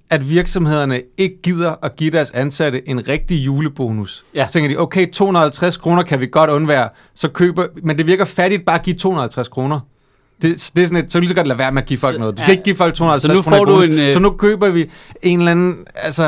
at virksomhederne ikke gider at give deres ansatte en rigtig julebonus.
Ja.
Så tænker de, okay, 250 kroner kan vi godt undvære, så køber, men det virker fattigt bare at give 250 kroner. Det, det er sådan et, så kan du lige så godt lade være med at give folk
Så-
noget. Du skal
ja.
ikke give folk
Så nu
250 kroner i
får du
bonus.
en, øh,
Så nu køber vi en eller anden, altså,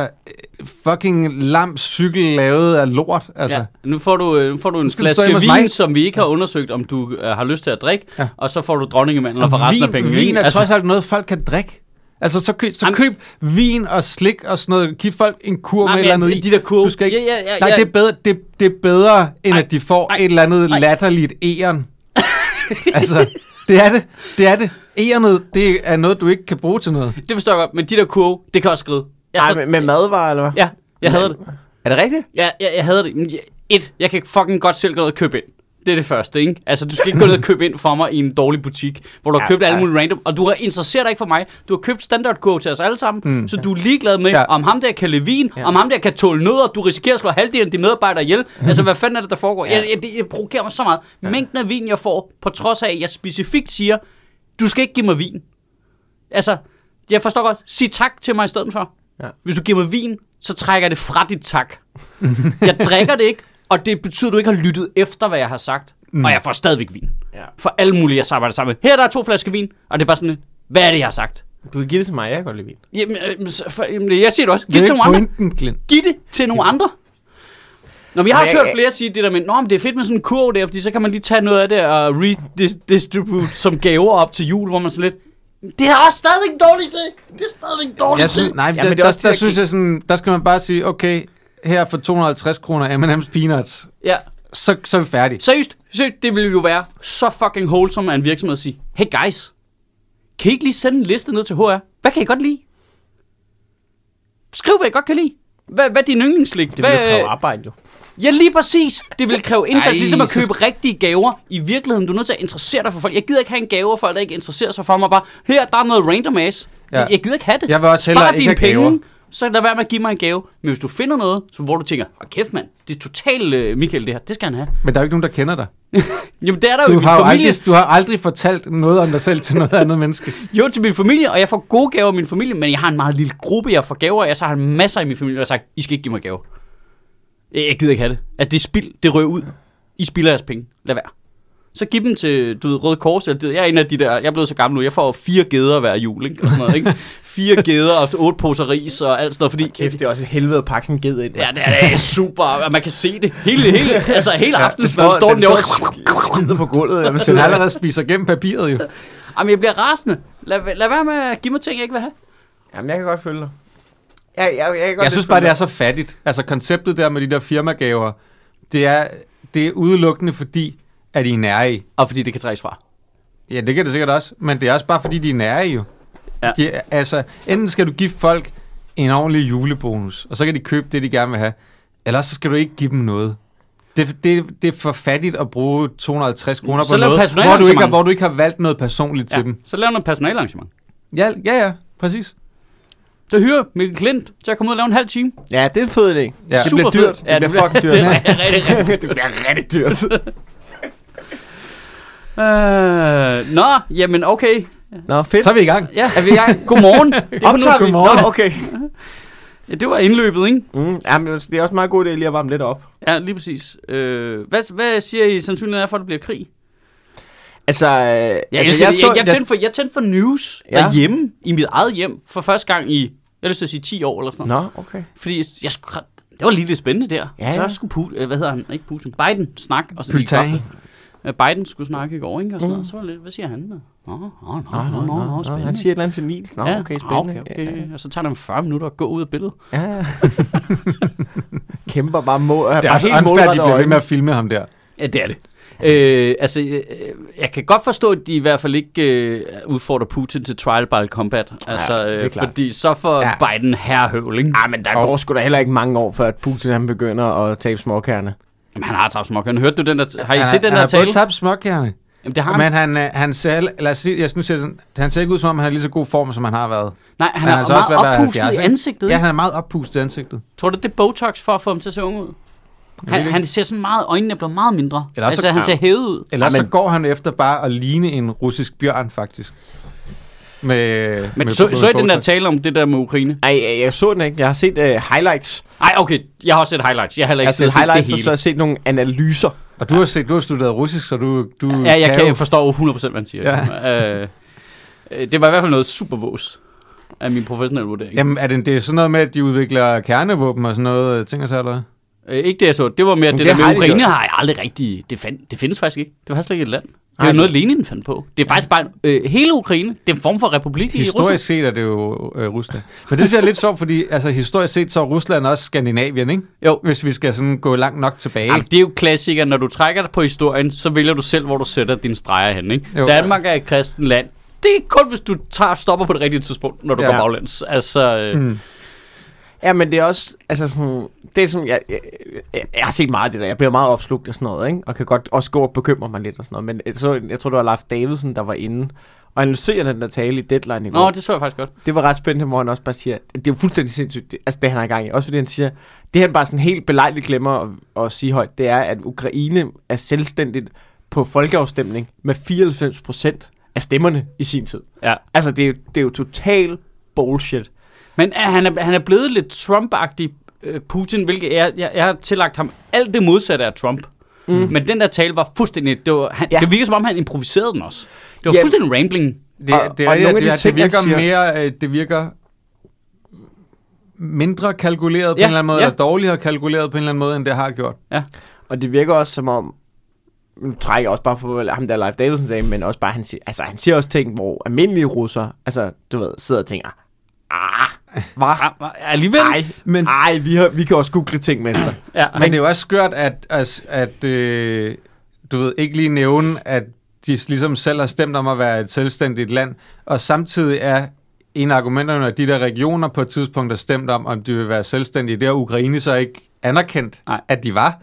øh, fucking lam cykel lavet af lort, altså.
Ja, nu får du, øh, nu får du en
skal du stå
flaske
hjemme hos
vin,
mig.
som vi ikke har undersøgt, om du øh, har lyst til at drikke,
Ja.
og så får du dronningemandler for resten af pengene.
Vin, vin
ikke?
er altså,
altså,
trods alt noget, folk kan drikke. Altså, så, køb, så
Jamen-
køb vin og slik og sådan noget. Giv folk en kur
Nej,
med
men
et eller andet
de- de
i.
der kurve-
Du skal ikke...
Ja, ja, ja,
Nej,
ja.
det er bedre, det, det er bedre end
Ej,
at de får
ej,
et eller andet
ej.
latterligt æren. altså, det er det. Det er det. Ærenet, det er noget, du ikke kan bruge til noget.
det forstår jeg godt, men de der kurve, det kan også skride. Jeg,
Nej, med, med madvarer, eller hvad?
ja, jeg havde det.
Er det rigtigt?
Ja, jeg, jeg havde det. Men jeg- Et, jeg kan fucking godt selv gå ned og købe ind. Det er det første, ikke? Altså, du skal ikke gå ned og købe ind for mig i en dårlig butik, hvor du har
Ja,
købt ja, alle
ja.
mulige random, og du har interesseret dig ikke for mig. Du har købt standardkurve til os alle sammen, mm, så du er ligeglad med,
Ja.
ja. om ham der kan levin, vin,
Ja.
om ham der kan tåle nødder, du risikerer at slå halvdelen af dine medarbejdere ihjel. Altså, hvad fanden er det, der foregår? Ja. Jeg, jeg, det, det provokerer mig så meget. Ja. Mængden af vin, jeg får, på trods af, at jeg specifikt siger, du skal ikke give mig vin. Altså, jeg forstår godt. Sig tak til mig i stedet for.
Ja.
Ja. Hvis du giver mig vin, så trækker jeg det fra dit tak. jeg drikker det ikke, og det betyder, at du ikke har lyttet efter, hvad jeg har sagt. Mm. Og jeg får stadigvæk vin.
Ja.
For alle mulige, jeg arbejder sammen med. Her der er to flasker vin, og det er bare sådan, lidt, hvad er det, jeg har sagt?
Du kan give det til mig, jeg kan godt lide vin.
Jamen, øh, så- for, jamen jeg siger det også. Giv
Det
det
er
til
jo ikke
nogle andre.
pointen, Glenn.
Giv det til nogle andre. Nå, men jeg har
Men
også
jeg-
hørt flere sige det der med, Nå, men det er fedt med sådan en kurv der, fordi så kan man lige tage noget af det og redistribute som gaver op til jul, hvor man sådan lidt, det er også stadig en dårlig idé. Det er stadig en dårlig
Jeg
idé.
synes, nej, ja,
men
der, der,
det er
der,
også det,
der
jeg
synes
gi-
jeg sådan, der skal man bare sige, okay, her for 250 kroner M&M's Peanuts,
Ja.
så, så er vi færdige.
Seriøst, seriøst, det ville jo være så fucking wholesome af en virksomhed at sige, hey guys, kan I ikke lige sende en liste ned til HR? Hvad kan I godt lide? Skriv, hvad I godt kan lide. Hvad, hvad er din yndlingslik?
Det vil jo kræve arbejde, jo.
Ja, lige præcis. Det vil kræve indsats,
Ej,
ligesom at
så-
købe rigtige gaver. I virkeligheden, du er nødt til at interessere dig for folk. Jeg gider ikke have en gave, og folk der ikke interesserer sig for mig. Bare, her, der er noget random ass.
Ja.
Ja. Jeg gider ikke have det.
Jeg vil også
Spar
hellere ikke
dine
have gaver.
Så lad være med at give mig en gave. Men hvis du finder noget, så hvor du tænker, oh, kæft mand, det er totalt øh, Michael det her, det skal han have.
Men der er jo ikke nogen, der kender dig.
Jamen det er der jo i
Du
min
har, jo
familie.
aldrig, du har aldrig fortalt noget om dig selv til noget andet menneske.
Jo, til min familie, og jeg får gode gaver af min familie, men jeg har en meget lille gruppe, jeg får gaver af, og så har jeg masser i min familie, der har sagt, I skal ikke give mig gaver. Jeg jeg gider ikke have det. Altså, det er spild, det rører ud. I spilder jeres penge. Lad være. Så giv dem til, du ved, Røde Kors, eller det- jeg er en af de der, jeg er blevet så gammel nu, jeg får fire geder hver jul, ikke? Og sådan noget, ikke? Fire geder og otte poser ris og alt sådan noget, fordi...
Kæft, det er også et helvede at pakke sådan en ged ind.
Ja, det er, det er super, og man kan se det hele, hele, altså hele aftenen, ja, står, den, den derovre.
skider på gulvet. Jeg vil
Den
sidde
allerede spiser gennem papiret jo.
Jamen, jeg bliver rasende. Lad, lad være med at give mig ting, jeg ikke vil have.
Jamen, jeg kan godt følge dig. Ja, jeg, jeg, kan godt
Jeg synes bare, det er så fattigt. Altså konceptet der med de der firmagaver, det er, det er udelukkende fordi, at I er nære i.
Og fordi det kan trækkes fra.
Ja, det kan det sikkert også, men det er også bare fordi, de er nære i jo.
Ja.
De, er- altså, enten skal du give folk en ordentlig julebonus, og så kan de købe det, de gerne vil have, eller så skal du ikke give dem noget. Det, det, det er for fattigt at bruge 250 kroner
Så
på
lav
noget, hvor du, ikke har,
personalearrangement.
hvor du ikke har valgt noget personligt ja.
Ja.
til dem.
Så lav noget personalarrangement.
Ja, ja, ja, præcis.
Så hyrer Mikkel Klint til at komme ud og lave en halv time.
Ja, det er en fed idé. Ja.
Ja.
Det bliver
Super fed.
dyrt. Det
Ja, det
bliver fucking dyrt.
Det er rigtig, rigtig
det bliver rigtig dyrt.
Øh, nå, jamen okay.
Nå, fedt.
Så er vi i gang.
Ja,
Er vi i gang?
godmorgen. Det, er
Optager vi?
Godmorgen.
Nå, okay.
nu- det var indløbet, ikke?
Mm, ja, men det er også en meget god idé lige at varme lidt op.
Ja, lige præcis. Øh, hvad, hvad siger I sandsynligheden er for, at det bliver krig?
Altså, øh,
Jeg,
altså
altså, jeg, jeg, jeg, tændte for, jeg tændte for news ja.
Ja.
derhjemme, i mit eget hjem, for første gang i, jeg har lyst til at sige 10 år eller sådan noget.
Nå, okay.
Fordi jeg, jeg skulle, det var lige lidt spændende der.
Ja,
Så
ja.
skulle Putin, hvad hedder han, ikke Putin, Biden snak. Og så lige
Putin.
kræfte. Øh, Biden skulle snakke i går, ikke? Og sådan noget. Så var det lidt, hvad siger han? Nå, nå, nå, nå, nå, nå, nå spændende.
Han siger et eller andet til Niels. Nå,
Ja,
okay,
ah,
spændende.
Okay, okay. Og så tager det dem 40 minutter at gå ud af billedet.
Ja, ja. Kæmper bare mod.
Det er også unfair, at de bliver ved med at filme ham der.
Ja, det er det. Øh, altså, øh, jeg kan godt forstå, at de i hvert fald ikke øh, udfordrer Putin til trial by combat. Altså,
Ja, det er
øh,
klart.
fordi så får
Ja.
ja. Biden herrehøvling.
Ja, men der går sgu da heller ikke mange år, før at Putin han begynder at tabe småkærne.
Jamen, han har tabt småkøn. Hørte du den der? Har I
Han
set den
han
der
har både
tale?
tabt småkærne.
Jamen, det har han.
Men han, øh, han ser, heller- lad os sige, jeg, nu ser det sådan, han ser ikke ud som om, han er i lige så god form, som han har været.
Nej, han,
Men
er
altså også ved at være
meget oppustet
70,
i
ikke?
ansigtet.
Ja,
Ja.
han er meget oppustet i ansigtet.
Tror du, det er Botox for at få ham til at se ung ud?
ved
Han,
det
han ser sådan meget, øjnene er blevet meget mindre.
Eller også
altså,
så-
han ser hævet ud. Altså,
Eller
Ej,
så
men-
går han efter bare at ligne en russisk bjørn, faktisk. Med,
Men
med
så,
med
så I den der
Botox.
tale om det der med Ukraine?
Ej, øh, jeg så den ikke. Jeg har set uh, highlights.
Nej, okay, jeg har også set highlights. Jeg har heller
Jeg
ikke
har
set,
set
set det
highlights, og så
hele.
har jeg set nogle analyser.
Og du har, set, du har studeret russisk, så du, du
Ja, jeg, kan,
jo-
jeg forstår 100% hvad han siger. Ja. Øh, øh, det var i hvert fald noget super vås af min professionelle vurdering.
Jamen, er det, det er sådan noget med, at de udvikler kernevåben og sådan noget, øh, ting og så eller?
Øh, ikke det, jeg så. Det var mere det,
det
det der
har
med
de
Ukraine
gjort.
har jeg aldrig rigtig... Det, fand, det findes faktisk ikke. Det var faktisk slet ikke et land. Det er
Nej,
jo noget,
det-
Lenin fandt på. Det er faktisk bare... en- Øh, hele Ukraine, det er en form for republik i Rusland.
Historisk set er det jo øh, Rusland. Men det synes jeg er lidt sjovt, fordi altså, historisk set så er Rusland også Skandinavien, ikke?
Jo.
Hvis vi skal sådan gå langt nok tilbage.
Jamen, det er jo klassiker. Når du trækker dig på historien, så vælger du selv, hvor du sætter dine streger hen. Ikke?
Jo.
Danmark er et kristent land. Det er kun, hvis du tager stopper på det rigtige tidspunkt, når du
Ja.
ja. går baglæns. Altså, øh,
Mm.
Ja, men det er også, altså sådan, det er sådan, jeg, jeg, jeg, jeg har set meget af det der, jeg bliver meget opslugt af sådan noget, ikke? Og kan godt også gå og bekymre mig lidt og sådan noget, men jeg, så, jeg tror, det var Leif Davidsen, der var inde og analyserede den der tale i Deadline i går.
Nå, det så jeg faktisk godt.
Det var ret spændende, hvor han også bare siger, at det er jo fuldstændig sindssygt, det, altså det han har i gang i. Også fordi han siger, det han bare sådan helt belejligt glemmer at, at sige højt, det er, at Ukraine er selvstændigt på folkeafstemning med 94 procent af stemmerne i sin tid.
Ja.
Altså det er, jo- det er jo total bullshit.
Men er, han, er, han er blevet lidt Trump-agtig, øh, Putin, hvilket jeg, jeg, jeg har tillagt ham alt det modsatte af Trump. Mm. Men den der tale var fuldstændig... Det, var, han, ja.
Ja.
det virker som om, han improviserede den også. Det var
Ja.
fuldstændig rambling.
Det,
Og-
det,
og
er, det,
nogle af
det,
de
det,
ting, han
virker
siger-
mere, øh, det virker mindre kalkuleret på
Ja,
en eller anden måde,
ja.
eller dårligere kalkuleret på en eller anden måde, end det har gjort.
Og det virker også som om, nu trækker jeg også bare på hvad ham der Leif Davidsen sagde, men også bare, han siger, altså, han siger også ting, hvor almindelige russere, altså du ved, sidder og tænker, ah,
Var, var, ah, alligevel...
ej,
Men-
men, ej vi, har, vi kan også google ting, mester.
Ja,
Men det er jo også skørt, at, at, at øh, du ved, ikke lige nævne, at de ligesom selv har stemt om at være et selvstændigt land, og samtidig er en af argumenterne, at de der regioner på et tidspunkt har stemt om, om de vil være selvstændige, det har Ukraine så ikke anerkendt,
Nej.
at de var.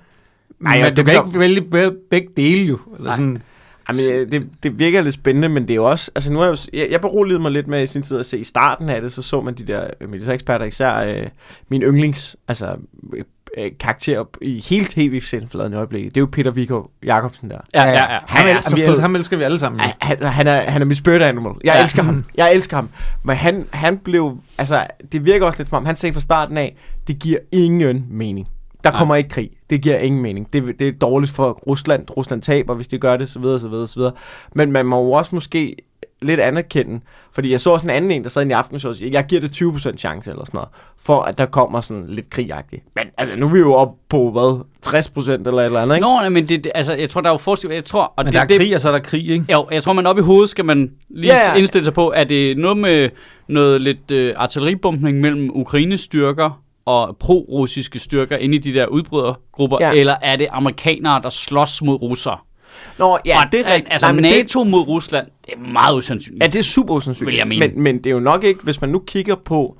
Nej,
Nej,
og
Men du
det
kan
bliver-
ikke vælge be- begge dele jo. Eller
Nej.
sådan.
Jamen, øh, det, det virker lidt spændende, men det er jo også... Altså, nu er jeg, jo, s- jeg, jeg beroligede mig lidt med i sin tid at se i starten af det, så så man de der øh, militæreksperter, især øh, min yndlings, altså øh, øh, karakter op i hele tv-sendfladen i øjeblikket. Det er jo Peter Viggo Jacobsen der.
ja, ja, ja.
Ham,
Han er
el-
så
vi-
fed.
ham elsker vi alle sammen. jo.
Han- Han, han, er, han er mit spirit animal. Jeg
Mm. Ja.
ja. elsker ham. Jeg elsker ham. Men han, han blev... Altså, det virker også lidt som om, han sagde fra starten af, det giver ingen mening. Der kommer ikke krig. Det giver ingen mening. Det, det er dårligt for Rusland. Rusland taber, hvis de gør det, så videre, så videre, så videre. Men man må jo også måske lidt anerkende. Fordi jeg så også en anden en, der sad inde i aften, og jeg giver det 20% chance eller sådan noget, for at der kommer sådan lidt krigagtigt. Men altså, nu er vi jo oppe på, hvad, 60% eller et eller andet, ikke?
Nå, nej, men det, det- altså, jeg tror, der er jo forskel. Jeg tror, og
Men
det,
der er
det,
krig, og så er der krig, ikke?
Jo, jeg tror, man op i hovedet skal man lige
Ja, ja.
yeah. indstille sig på, er det noget med noget lidt øh, artilleribumpning mellem Ukraines styrker og pro-russiske styrker inde i de der udbrydergrupper,
Ja.
yeah. eller er det amerikanere, der slås mod russere?
Nå, ja,
og,
det er rigtigt.
Altså
Nej, men det-
NATO det... mod Rusland, det er meget usandsynligt.
Ja, det er super usandsynligt.
Vil jeg mene.
Men, men det er jo nok ikke, hvis man nu kigger på...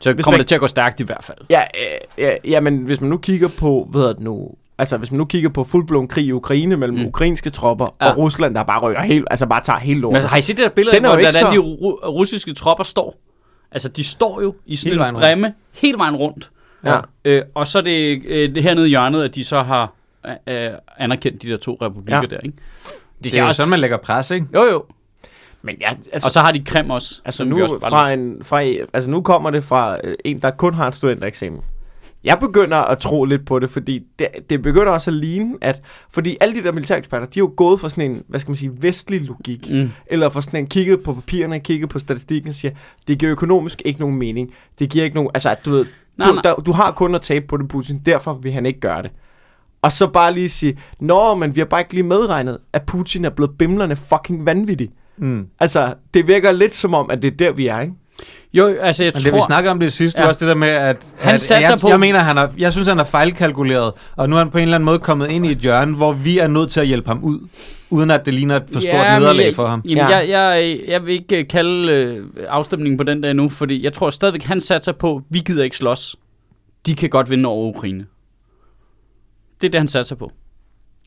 så
hvis
kommer
man-
det til at gå stærkt i hvert fald.
Ja, øh, ja, ja, men hvis man nu kigger på, hvad hedder det nu... Altså, hvis man nu kigger på fuldblåen krig i Ukraine mellem mm. ukrainske tropper ja.
Ja.
og Rusland, der bare ryger helt... Altså, bare tager helt
Men
lort.
altså, har I set det der billede,
Den er
af, hvor
jo ikke
hvordan
så-
de ru- russiske tropper står? Altså, de står jo i
Hele
sådan
vejen
en
rundt.
remme hele vejen rundt.
Ja.
Øh, og så er det, øh, det hernede i hjørnet, at de så har øh, øh, anerkendt de der to republikker
Ja.
der, ikke?
Det er jo sådan, man lægger pres, ikke?
Jo, jo.
Men ja, altså,
Og så har de Krim også.
altså
som vi
nu,
også bare-
fra en, fra, altså, nu kommer det fra øh, en, der kun har en studentereksamen. Jeg begynder at tro lidt på det, fordi det, det begynder også at ligne, at... Fordi alle de der militæreksperter, de er jo gået for sådan en, hvad skal man sige, vestlig logik.
Mm.
Eller for sådan en kigget på papirerne, kigget på statistikken og siger, det giver økonomisk ikke nogen mening. Det giver ikke nogen, altså at du ved,
Nej,
du,
nej.
Der, du har kun at tabe på det, Putin, derfor vil han ikke gøre det. Og så bare lige sige, nå, men vi har bare ikke lige medregnet, at Putin er blevet bimlerne fucking vanvittig.
Mm.
Altså, det virker lidt som om, at det er der, vi er, ikke?
Jo, altså, jeg
Men
tror...
det vi snakkede om det sidste, ja.
Ja.
også det der med, at,
Han
at
satser
jeg,
på-
jeg mener, han har, jeg synes, han har fejlkalkuleret, og nu er han på en eller anden måde kommet ind i et hjørne, hvor vi er nødt til at hjælpe ham ud, uden at det ligner et for stort
men
nederlag
jeg-
for ham.
Jamen,
Ja.
ja. jeg, jeg, jeg vil ikke øh, kalde øh, afstemningen på den der endnu, fordi jeg tror stadigvæk, han satser på, vi gider ikke slås. De kan godt vinde over Ukraine. Det er det, han satser på.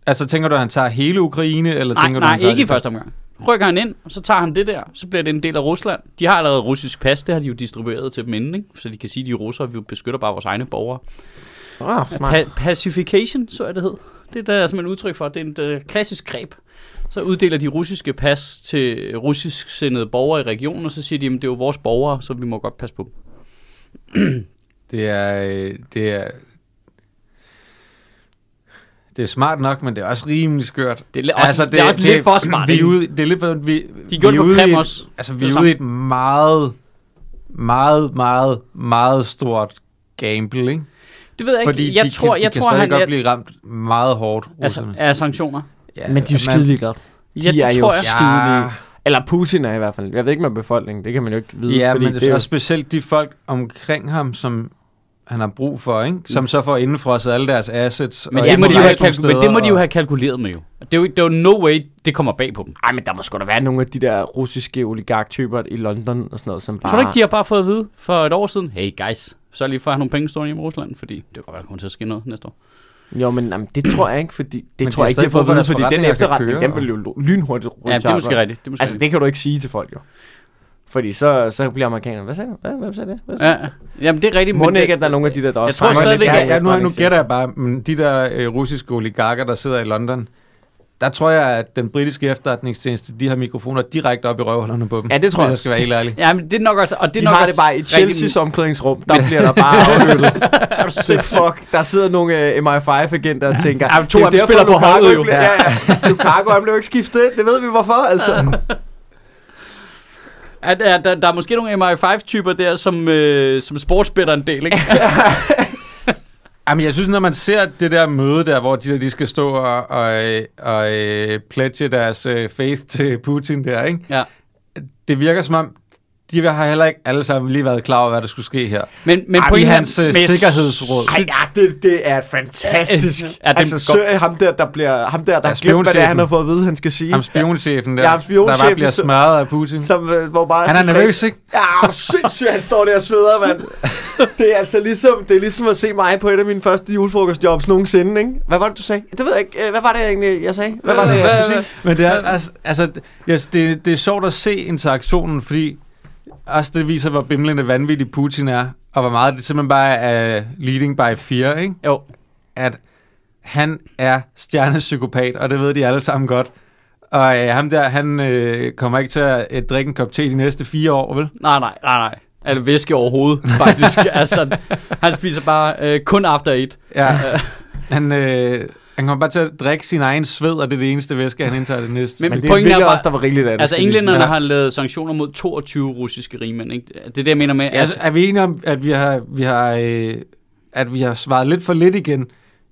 Altså, tænker du, at han tager hele Ukraine, eller
Nej,
tænker du,
nej,
han tager
ikke i
det?
første omgang. Rykker han ind, og så tager han det der, så bliver det en del af Rusland. De har allerede russisk pas, det har de jo distribueret til dem inden, ikke? så de kan sige, at de er russere, vi beskytter bare vores egne borgere.
Ah, smart.
Pa- pacification, så er det hed. Det er der simpelthen udtryk for. Det er et øh, klassisk greb. Så uddeler de russiske pas til russisk sendede borgere i regionen, og så siger de, at det er jo vores borgere, så vi må godt passe på dem.
Det er, øh, det er, det er smart nok, men det er også rimelig skørt. Altså,
Det er li- også- det er også lidt for smart,
Vi er
ikke?
ude, det er lidt for, vi, vi
De gjorde
er
det på
ude i
Krim
et-
også.
Altså,
Det
vi
er
er ude i et meget, meget, meget, meget stort gamble, ikke?
Det ved jeg ikke.
Fordi
jeg
de,
tror,
kan, de
jeg
kan
tror,
stadig
han
godt
er,
blive ramt meget hårdt,
altså,
russerne.
er sanktioner.
ja,
Men de er jo
man-
skidelig glade.
Ja,
De
det
er jo
tror jeg.
skidelig. Eller Putin er i hvert fald. Jeg ved ikke med befolkningen, det kan man jo ikke vide.
Ja,
fordi
men
det er jo,
og specielt de folk omkring ham, som han har brug for, ikke? Som så får indefrosset alle deres assets.
Men,
og
det
ikke
må, de jo
rejse
have
nogen
kalku- men det
steder,
må de jo
og-
have kalkuleret med jo. Det er jo, det er jo no way, det kommer bag på dem.
ej, men der må sgu da være nogle af de der russiske oligarktyper i London og sådan noget, som bare...
Tror du ikke, de har bare fået at vide for et år siden, hey guys, så lige for at have nogle penge stående hjemme i Rusland, fordi det kan godt være, der kommer til at ske noget næste år.
Jo, men jamen, det tror jeg ikke, fordi... Det
de
men tror
har
jeg ikke,
stadig
de har
brug
fået
for,
at
at
vide,
deres
fordi den
forretninger kan
efterretning,
køre,
den vil jo lo- lynhurtigt rundt.
Ja, det er måske rigtigt. Det er måske
Altså,
rigtigt.
det kan du ikke sige til folk, jo. Fordi så, så bliver amerikanerne, hvad sagde du? Hvad, hvad sagde det? Hvad sagde
Ja, ja. Jamen, det er rigtigt.
det? Må
men det-
ikke, at der er nogle af de der, der også
tror
snakker
stadigvæk,
lidt
at-
om
ja, ja, nu, nu
efterretningstjenester.
gætter jeg bare, men de der øh, russiske oligarker, der sidder i London, der tror jeg, at den britiske efterretningstjeneste, de har mikrofoner direkte op i røvhullerne på dem.
Ja, det tror
hvis
jeg
jeg skal være helt ærlig.
Ja, men det er nok også... Og det er
De
nok
har
også
det bare i
rigtig-
Chelsea's omklædningsrum. Der bliver der bare aflyttet. Så fuck, der sidder nogle uh, MI5-agenter og tænker...
Ja, men to
"Det er
af dem
derfor,
spiller på
Lukaku
holdet
ikke
jo."
blev- Ja, ja. Lukaku, han blev ikke skiftet ind. Det ved vi hvorfor, altså.
At, at, der, der er måske nogle MI5-typer der, som, øh, som sportsbætter en del, ikke?
Jamen, jeg synes, når man ser det der møde der, hvor de, der, de skal stå og, og, øh, og øh, pledge deres øh, faith til Putin der, ikke?
ja.
det virker som om, de har heller ikke alle sammen lige været klar over, hvad der skulle ske her.
Men, men
Ej,
på
i
en
hans, øh,
men jeg
sikkerhedsråd.
sy-
Ej, ja, det, det er fantastisk.
Ja, det er
altså,
godt.
søg ham der, der bliver... Ham der,
Ja,
der ja, glemt, hvad det er, han
spionchefen.
har fået at vide, han skal sige.
Ham spionchefen der,
Ja, ham spionchefen,
der bare bliver
så-
smadret af Putin.
Som, øh, hvor bare
Han er nervøs, ikke?
Ja, hvor sindssygt, han står der og sveder, mand. Det er altså ligesom, det er ligesom at se mig på et af mine første julefrokostjobs nogensinde, ikke? Hvad var det, du sagde? Det ved jeg ikke. Øh, Hvad var det egentlig, jeg sagde? Hvad var det, jeg skulle sige?
Men det er, altså, altså yes, det, det er sjovt at se interaktionen, fordi også det viser, hvor bimlende vanvittig Putin er, og hvor meget det simpelthen bare er uh, leading by fear, ikke?
Jo.
At han er stjernepsykopat, og det ved de alle sammen godt. Og øh, ham der, han øh, kommer ikke til at øh, drikke en kop te de næste fire år, vel?
Nej, nej, nej, nej. Eller væske overhovedet, faktisk. altså, han spiser bare øh, kun after eight.
Ja. han, øh, Han kommer bare til at drikke sin egen sved, og det er det eneste væske, han indtager det næste.
Men-
Men,
Men det
Pointen er
er virkelig
bare-
også, der var rigeligt af det.
Altså,
skal jeg lige sige.
englænderne har lavet sanktioner mod 22 russiske rigmænd, ikke? Det er det, jeg mener med.
altså,
Altså,
er vi enige om, at vi har, vi har, øh, at vi har svaret lidt for lidt igen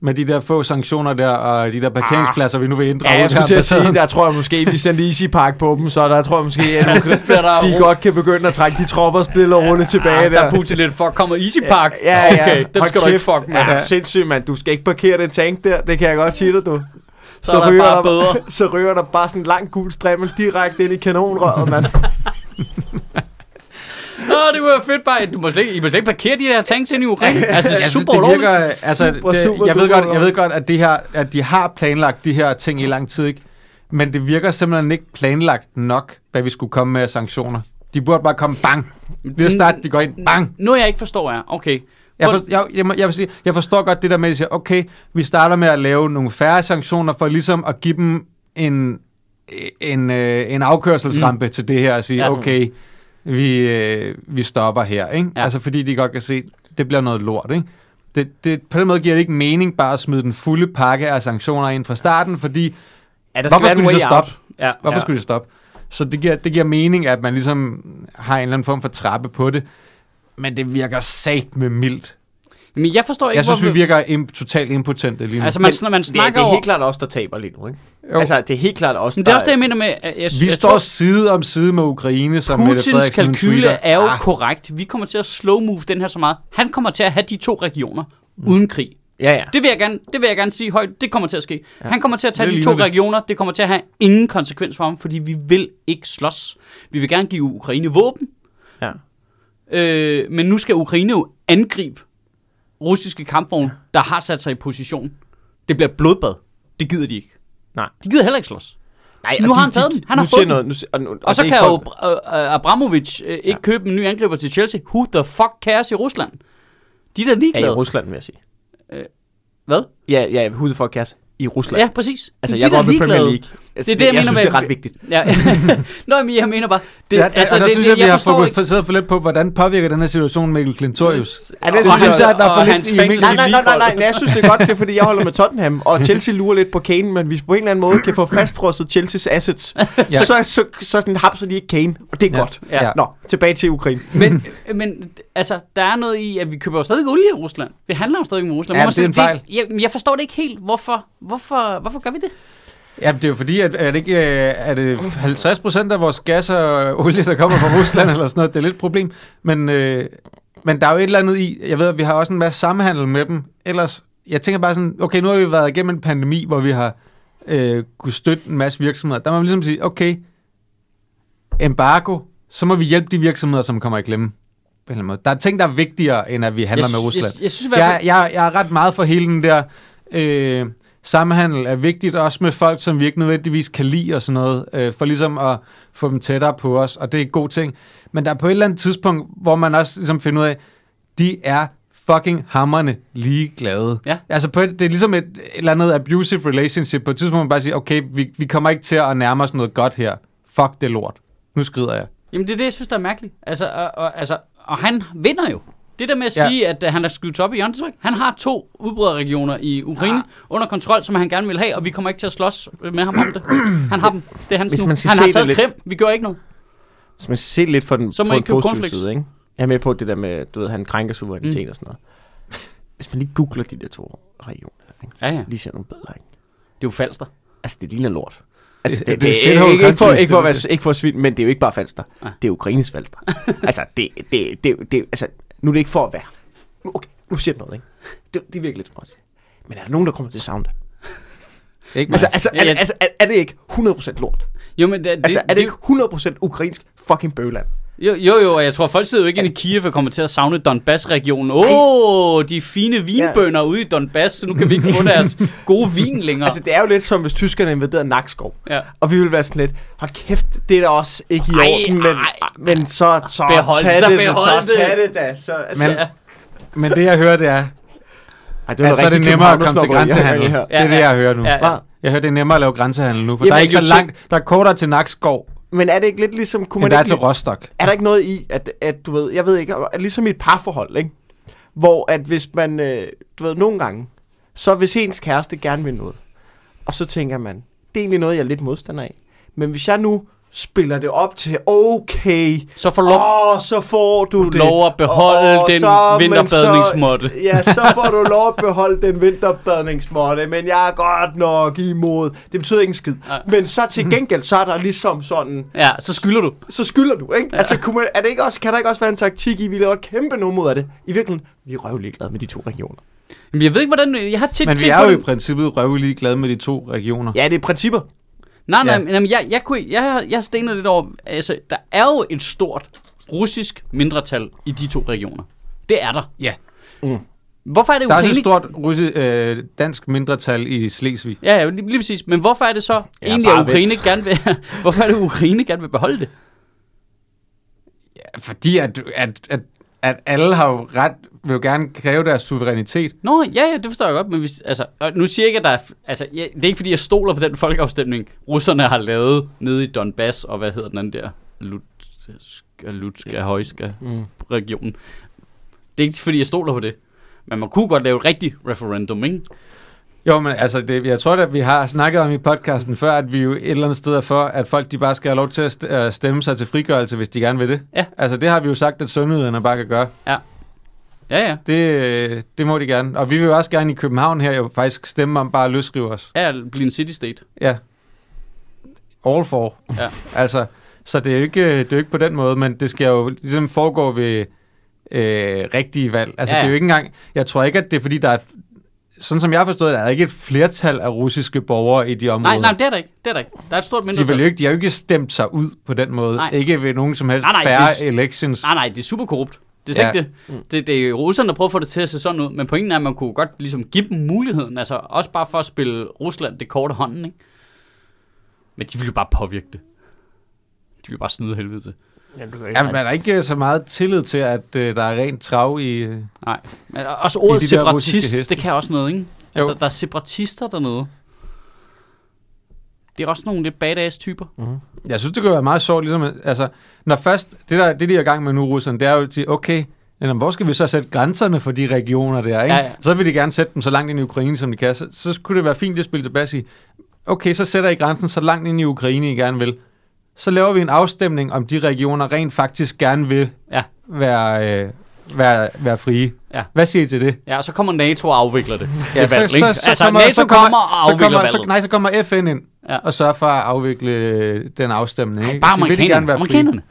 med de der få sanktioner der, og de der parkeringspladser, vi nu vil inddrage?
Ja, jeg
ud
skulle
af
til at sige,
ambassaden?
der tror jeg måske, de sendte Easy Park på dem, så der tror jeg måske, at
så bliver der
de godt kan begynde at trække de tropper stille og roligt tilbage
Ah, der er
der.
Putin lidt, fuck, kommer Easy Park.
Ja, ja.
Okay, den
Hold
skal du ikke fuck med.
Ja, sindssygt, mand. Du skal ikke parkere den tank der. Det kan jeg godt sige dig, du.
Så er der bare bedre.
så ryger der bare sådan en lang gul strimmel direkte ind i kanonrøret, mand.
Nå, det var fedt bare. Du må slet ikke, I må slet ikke parkere de der tanks ind i Ukraine. Altså, det er
Altså,
super
det virker,
ulovligt.
altså,
Super,
det,
super
jeg, ved
duper
godt, jeg ved godt, at, det her, at de har planlagt de her ting i lang tid, ikke? men det virker simpelthen ikke planlagt nok, hvad vi skulle komme med af sanktioner. De burde bare komme bang.
Mm.
Lige at starte, de går ind, bang.
Noget, jeg ikke forstår er, okay,
Jeg,
Hvor-
for, jeg, jeg, må- jeg, vil sige, jeg forstår godt det der med, at de siger, okay, vi starter med at lave nogle færre sanktioner, for ligesom at give dem en, en, øh, en afkørselsrampe mm. til det her, og sige,
Ja.
ja. okay, vi, øh, vi stopper her. Ikke?
Ja.
Ja. Altså fordi de godt kan se, det bliver noget lort. Ikke? Det, det, på den måde giver det ikke mening bare at smide den fulde pakke af sanktioner ind fra starten, fordi
Ja, der
hvorfor skulle de så stoppe?
ja,
Hvorfor
ja.
ja. skulle de stoppe? Så det giver, det giver mening, at man ligesom har en eller anden form for trappe på det. Men det virker sat med mildt.
Men jeg forstår ikke,
Jeg synes,
hvorfor...
vi virker im- totalt impotente lige nu.
Altså, man, sn-
Altså,
man
Det, er-
snakker
det er
over...
helt klart os, der taber lige nu, ikke?
Jo.
Altså, det er helt klart os,
Men det er også det,
der...
jeg mener med... at Jeg,
vi
jeg
står
tror-
side om side med Ukraine, som Mette
Putins
Frederiksen hun
kalkyle
tweeter.
er jo
Ah,
korrekt. Vi kommer til at slow move den her så meget. Han kommer til at have de to regioner uden krig.
Ja, ja.
Det vil jeg gerne, det vil jeg gerne sige højt. Det kommer til at ske. Ja. Han kommer til at tage
Det
de to
ligner det.
regioner. Det kommer til at have ingen konsekvens for ham, fordi vi vil ikke slås. Vi vil gerne give Ukraine våben,
ja.
øh, men nu skal Ukraine jo angribe russiske kampvogne, der har sat sig i position. Det bliver et blodbad. Det gider de ikke.
Nej.
De gider heller ikke slås.
Nej,
Nu har han taget den. Han har fået
nu siger
den.
Noget, nu, siger- og, nu,
Og, og så
det er
kan
ikke
jo
for-
Abra- øh, øh, Abramovic øh, ikke ja. købe en ny angriber til Chelsea. Who the fuck cares i Rusland? De er da
Ja, i
ligeglade.
Rusland, vil jeg sige.
Hvad?
Ja, ja, hudet for kasse. I Rusland.
Ja, præcis.
Altså,
de
jeg
er da
går op i Premier
ligeglade.
League. Altså,
det, jeg mener
synes,
med-
det er ret vigtigt.
Ja. Nå, men jeg mener bare... Det,
ja, altså, og der det, synes jeg, vi har fokuseret for lidt på, hvordan påvirker den her situation Mikkel Klintorius.
Ja, det
Og
synes jeg
hans-
også,
at der er for
og
lidt
hans
i
fans-
Emils
Nej, nej, nej, nej, nej, nej, jeg synes det er godt, det er fordi, jeg holder med Tottenham, og Chelsea lurer lidt på Kane, men hvis vi på en eller anden måde kan få fastfrosset Chelseas assets, ja. så, så, så sådan hapser de ikke Kane, og det er ja. godt.
Ja.
Ja.
Nå, tilbage til Ukraine.
Men, men altså, der er noget i, at vi køber jo stadigvæk olie i Rusland. Vi handler jo stadigvæk med Rusland.
Ja,
Hvor man
det er en
sådan,
fejl.
Jeg, men jeg forstår det ikke helt. Hvorfor, hvorfor, hvorfor gør vi det?
Ja, det er jo fordi, at er det, ikke, øh, er det 50 procent af vores gas og øh, olie, der kommer fra Rusland eller sådan noget, det er lidt et problem. Men, øh, men der er jo et eller andet i, jeg ved, at vi har også en masse samhandel med dem. Ellers, jeg tænker bare sådan, okay, nu har vi været igennem en pandemi, hvor vi har øh, kunne støtte en masse virksomheder. Der må man ligesom sige, okay, embargo, så må vi hjælpe de virksomheder, som kommer i klemme. På en eller anden måde. Der er ting, der er vigtigere, end at vi handler
jeg,
med Rusland
Jeg, jeg, jeg synes i hvert
jeg,
fald...
jeg, jeg er ret meget for hele den der øh, samhandel er vigtigt, også med folk, som vi ikke nødvendigvis kan lide og sådan noget, øh, for ligesom at få dem tættere på os, og det er en god ting. Men der er på et eller andet tidspunkt, hvor man også ligesom finder ud af, de er fucking hammerne ligeglade.
Ja.
Altså på et, det er ligesom et, et eller andet abusive relationship. På et tidspunkt må man bare sige, okay, vi, vi kommer ikke til at nærme os noget godt her. Fuck det lort. Nu skrider jeg.
Jamen, det er det, jeg synes, der er mærkeligt. Altså, og, og, altså, og han vinder jo. Det der med at
Ja.
sige, at øh, han er skudt op i hjørnetryk, han har to udbryderregioner i Ukraine under kontrol, som han gerne vil have, og vi kommer ikke til at slåss med ham om det. Han har dem. Det er hans
Hvis
nu.
man
Han
skal
har
se
taget
det
Krim. Vi gør ikke noget.
Hvis man ser lidt for den,
Så må
på
I
den
købe
positive
cornflakes.
side, ikke? Jeg er med på det der med, du ved, han krænker suverænitet mm. og sådan noget. Hvis man lige googler de der to regioner, ikke?
Ja, ja.
lige ser nogle bedre, ikke?
Det er jo falster.
Altså, det ligner lort. Altså,
Det- det er shithole
ikke, ikke, for,
country,
ikke, for at
synes
være, ikke for at svin, men det er jo ikke bare falster.
Nej.
Det er Ukraines falster. altså, det, det, det, det, altså, nu er det ikke for at være. Nu, okay, nu siger jeg noget, ikke? Det, det er virkelig lidt småt. Men er der nogen, der kommer til sound?
Ikke
Altså, altså,
Ja,
er,
ja.
altså er, er, det ikke 100% lort?
Jo, men det,
Altså,
det,
er det ikke 100% ukrainsk fucking bøgeland?
Jo, jo, jo, og jeg tror, folk sidder jo ikke inde i Kiev og kommer til at savne Donbass-regionen. Åh, oh, de fine vinbønder ude i Donbass, så nu kan vi ikke få deres gode vin længere.
Altså, det er jo lidt som, hvis tyskerne invaderede Nakskov.
Ja.
Og vi ville være sådan lidt, hold kæft, det er da også ikke i
Ej,
orden, men,
ej.
men så, så
Behold-
tag
så
det,
behold
så tag
det.
det da. Så, altså,
Men,
Ja.
men det jeg hører, det er,
ej,
at så er det
rigtig
nemmere at komme til
københavnersnobberi, jeg hører
grænsehandel.
det
Det
her.
er det, jeg hører nu.
Ja, ja.
Hva?
Jeg hørte, det er nemmere at lave grænsehandel nu, for
Jamen,
der er ikke
det er
så
jo
langt, der er kortere til Nakskov,
Men er det ikke lidt ligesom... Kunne
end
man
der er
ikke
til
lige-
Rostock.
er der ikke noget i, at, at du ved, jeg ved ikke, at ligesom i et parforhold, ikke? Hvor at hvis man, øh, du ved, nogle gange, Så hvis ens kæreste gerne vil noget, og så tænker man, det er egentlig noget, jeg er lidt modstander af. Men hvis jeg nu spiller det op til, okay,
Så får lov,
Åh, oh, så får du,
Du
det.
lov at beholde
Åh,
den
men
vinterbadningsmåtte.
Så, ja, så får du lov at beholde den vinterbadningsmåtte, men jeg er godt nok imod. Det betyder ikke en skid.
Nej.
Men så til gengæld, så er der ligesom sådan,
ja, så skylder du.
så skylder du, ikke? Altså, kunne man, er det ikke også, kan der ikke også være en taktik i, vi laver et kæmpe nummer ud af det? I virkeligheden, vi er røvlig glade med de to regioner.
Jamen, jeg ved ikke, hvordan... Jeg har tit
Men vi
tænkt
er
på
jo
den-
i princippet røvelig glade med de to regioner.
Ja, det er principper.
Nej, nej,
Ja.
ja. men jamen, jeg, jeg, kunne, jeg, har- jeg har stenet lidt over, altså, der er jo et stort russisk mindretal i de to regioner. Det er der.
Ja.
Hvorfor er det
Der er også
ukrainsk?
et stort russi, øh, dansk mindretal i Slesvig.
Ja, ja, lige, lige præcis. Men hvorfor er det så ja, egentlig, at
bare
Ukraine
vent.
gerne vil, hvorfor er det, Ukraine gerne vil beholde det?
Fordi at, at, at, at alle har jo ret, vil jo gerne kræve deres suverænitet.
Nå, ja, ja, det forstår jeg godt, men hvis, altså, og nu siger jeg ikke, at der er, altså, jeg, det er ikke, fordi jeg stoler på den folkeafstemning, russerne har lavet nede i Donbass, og hvad hedder den anden der? Lutska, Lutska, Højska mm. regionen. Det er ikke, fordi jeg stoler på det. Men man kunne godt lave et rigtigt referendum, ikke?
Jo, men altså, det, jeg tror at vi har snakket om i podcasten før, at vi jo et eller andet sted er for, at folk de bare skal have lov til at st- øh, stemme sig til frigørelse, hvis de gerne vil det.
Ja.
Altså, det har vi jo sagt, at sundhederne bare kan gøre.
Ja, ja.
Det, øh, det må de gerne. Og vi vil jo også gerne i København her jo faktisk stemme om bare at løsrive os.
Ja, blive en city state.
Ja. All for.
Ja.
altså, så det er, jo ikke, øh, det er jo ikke på den måde, men det skal jo ligesom foregå ved øh, rigtige valg. Altså,
Ja,
ja. det er
ja.
jo ikke engang... Jeg tror ikke, at det er, fordi der er... et- Sådan som jeg har forstået, der er ikke et flertal af russiske borgere i de områder.
Nej, nej, det er der ikke. Det er der ikke. Der er et stort
de,
mindretal.
vil jo ikke, de har jo ikke stemt sig ud på den måde.
Nej.
Ikke ved nogen som helst
Nej, nej,
færre
det er-
elections.
Nej, nej, det er super korrupt. Det er slet
Ja. Mm.
ikke det. det. Det er russerne, der prøver at få det til at se sådan ud, men pointen er, at man kunne godt ligesom give dem muligheden, altså også bare for at spille Rusland det korte hånden, ikke? Men de vil jo bare påvirke det. De vil jo bare snyde helvede til.
Ja, men er der ikke øh, så meget tillid til, at øh, der er rent trav i... Øh,
Nej. Men også ordet
I de der russiske
separatist,
heste.
det kan også noget, ikke? Altså,
Jo.
der er separatister dernede. Det er også nogle lidt badass typer.
Mm. Jeg synes, det kunne være meget sjovt, ligesom, at- altså, når først, det der, det de er i gang med nu, russerne, det er jo at sige, okay, men jamen, hvor skal vi så sætte grænserne for de regioner der, ikke?
Ja, ja.
Så vil de gerne sætte dem så langt ind i Ukraine, som de kan. Så, så kunne det være fint at spille tilbage og sige, okay, så sætter I grænsen så langt ind i Ukraine, I gerne vil. Så laver vi en afstemning, om de regioner rent faktisk gerne vil
Ja.
være, øh, være, være frie.
Ja.
Hvad siger I til det?
Ja, og så kommer NATO og afvikler det. det valg,
så,
ikke?
så, så,
altså,
kommer,
NATO
så
kommer og
kommer, så
afvikler
kommer, så,
valget.
nej, så kommer FN ind
Ja.
og sørger for at afvikle øh, den afstemning.
Nej,
ikke?
bare
Så vil de gerne
amerikanerne.
være frie.
Amerikanerne.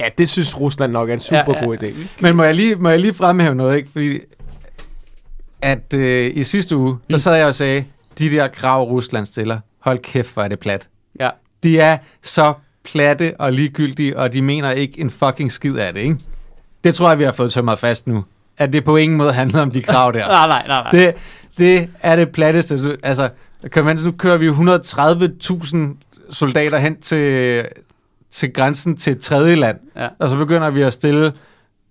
Ja, det synes Rusland nok er en super
Ja, ja.
god idé.
Men må jeg lige, må jeg lige fremhæve noget, ikke? Fordi at øh, i sidste uge,
Mm.
der sad jeg og sagde, de der krav, Rusland stiller, hold kæft, hvor er det plat.
Ja.
De er så platte og ligegyldige, og de mener ikke en fucking skid af det, ikke? Det tror jeg, vi har fået tømret fast nu. At det på ingen måde handlede om de krav der.
Nej, nej, nej, nej.
Det, det er det platteste. Du- Altså, kom hen, nu kører vi 130.000 soldater hen til, til grænsen til et tredje land.
Ja.
Og så begynder vi at stille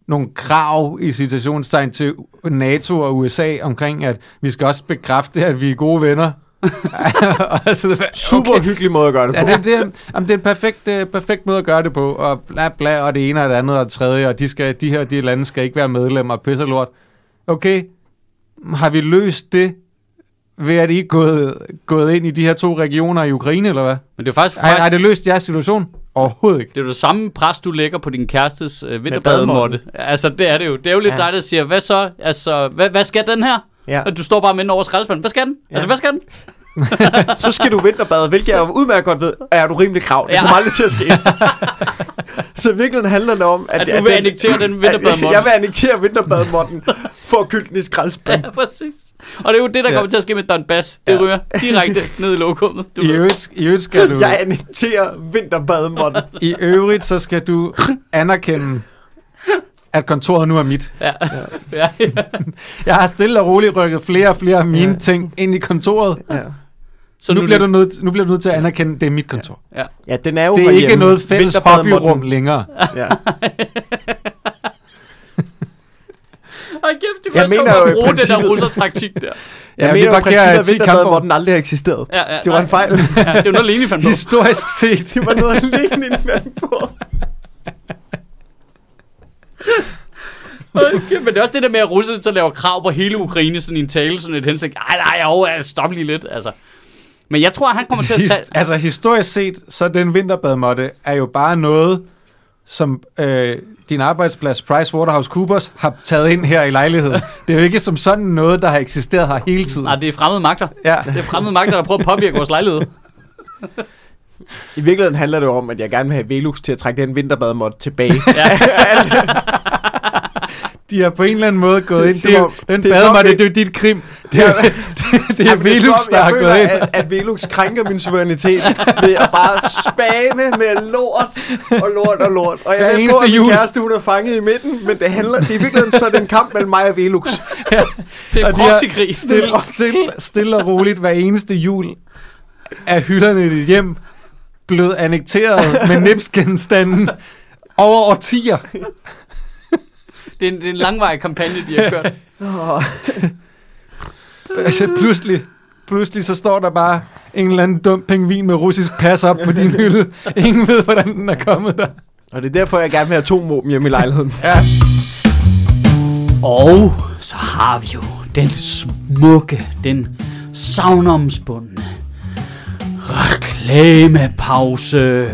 nogle krav i citationstegn til NATO og USA omkring, at vi skal også bekræfte, at vi er gode venner. og så, er det bare,
Super okay. hyggelig måde at gøre det på.
Ja, det, det, er- jamen, det er en perfekt, øh, perfekt måde at gøre det på, og bla bla, og det ene og det andet og det tredje, og de, skal, de her og de lande skal ikke være medlemmer, og pisse og lort. Okay, har vi løst det ved, at I er gået, gået ind i de her to regioner i Ukraine, eller hvad?
Men det er faktisk...
Har, har det løst jeres situation? Overhovedet ikke.
Det er jo det samme pres, du lægger på din kærestes øh,
bademåtte.
vinterbademåtte. Altså, det er det jo. Det er jo lidt
Ja.
ja. dig, der siger, hvad så? Altså, hvad, hvad skal den her?
Ja.
Og Du står bare med den over skraldespanden. Hvad skal den? Ja. Altså, hvad skal den?
så skal du vinterbade, hvilket jeg jo udmærket godt ved, er du rimelig krav. Det
Ja.
kommer aldrig til at ske. så virkelig handler det om, at,
At du vil
den-
annektere den
at
vinterbademåtte.
Jeg vil annektere vinterbademotten for at kylde den i skraldespanden.
Ja, præcis. Og det er jo det, der
Ja.
kommer til at ske med Don Bass. Det
Ja.
ryger direkte ned i lokummet. Du
I
ved.
øvrigt, I øvrigt skal du...
Jeg annekterer vinterbademotten.
I øvrigt, så skal du anerkende, at kontoret nu er mit.
Ja. Ja. ja.
Jeg har stille og roligt rykket flere og flere af mine
Ja.
ja. ting ind i kontoret.
Ja.
Så
nu,
er
bliver
det-
du nødt, nu bliver du nødt til at anerkende, at det er mit kontor.
Ja.
ja, den er jo
Det er
herhjemme.
ikke noget fælles
Vinterbademotten.
hobbyrum længere.
Ja.
Ej, kæft, det
Jeg
kunne
mener
mener,
jo i
jo bruge den der
princippet-
russer-taktik der.
Jeg ja,
vi
mener jo i
parkerer
princippet, at
10 kampvogne.
vinterbademotten aldrig har eksisteret.
Ja, ja,
Det var en
nej.
fejl.
Ja, det er jo noget, Lene fandt på.
Ligesom-
Historisk set.
det var noget, Lenin fandt på.
Okay, men det er også det der med, at russerne så laver krav på hele Ukraine sådan i en tale, sådan et hensigt. Ej, nej, jo, altså, stop lige lidt, altså. Men jeg tror, at han kommer til at...
Hist,
sal-
altså historisk set, så den vinterbadmåtte er jo bare noget, som øh, din arbejdsplads PricewaterhouseCoopers har taget ind her i lejligheden. Det er jo ikke som sådan noget, der har eksisteret her hele tiden.
Nej, det er fremmede magter.
Ja.
Det er fremmede magter, der prøver at påvirke vores lejlighed.
I virkeligheden handler det jo om, at jeg gerne vil have Velux til at trække den vinterbadmåtte tilbage.
De har på en eller anden måde gået
Det er
ind. Det er, jo-
som om-
den
det er
bad
som
mig,
om,
det, det er jo dit krim. Det er, det, det er
Jamen,
Velux,
som om,
der har
jeg føler,
gået ind.
at, at Velux krænker min suverænitet ved at bare spane med lort og lort og lort. Og jeg
Hver
ved på,
eneste
at min
jul.
kæreste hun er fanget i midten, men det handler, det er i virkeligheden så er det en kamp mellem mig og Velux.
Det er
Og de har
proxykrig.
Stille, stille, stille og roligt hver eneste jul er hylderne i dit hjem blevet annekteret med nipsgenstanden over årtier.
Det er en, det er en langvarig kampagne, de har kørt.
Åh,
Altså pludselig, pludselig så står der bare en eller anden dum pingvin med russisk pas op på din hylde. Ingen ved, hvordan den er kommet der.
Og det er derfor, jeg gerne vil have atomvåben hjemme i lejligheden.
Ja.
Og så har vi jo den smukke, den savnomsbundne reklamepause,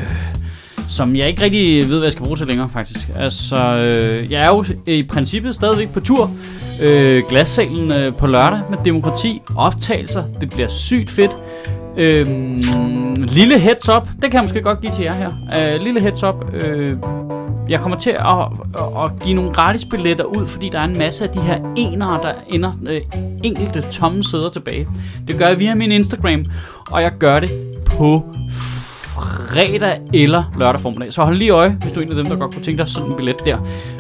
som jeg ikke rigtig ved, hvad jeg skal bruge til længere, faktisk. Altså, øh, jeg er jo i princippet stadigvæk på tur. Øh, glassalen øh, på lørdag med demokrati, optagelser, det bliver sygt fedt. Øhm, lille heads up, det kan jeg måske godt give til jer her. Øh, lille heads up, øh, jeg kommer til at, at, at give nogle gratis billetter ud, fordi der er en masse af de her enere, der ender øh, enkelte tomme sæder tilbage. Det gør jeg via min Instagram, og jeg gør det på fredag eller lørdag formiddag. Så hold lige øje, hvis du er en af dem, der godt kunne tænke dig sådan en billet der.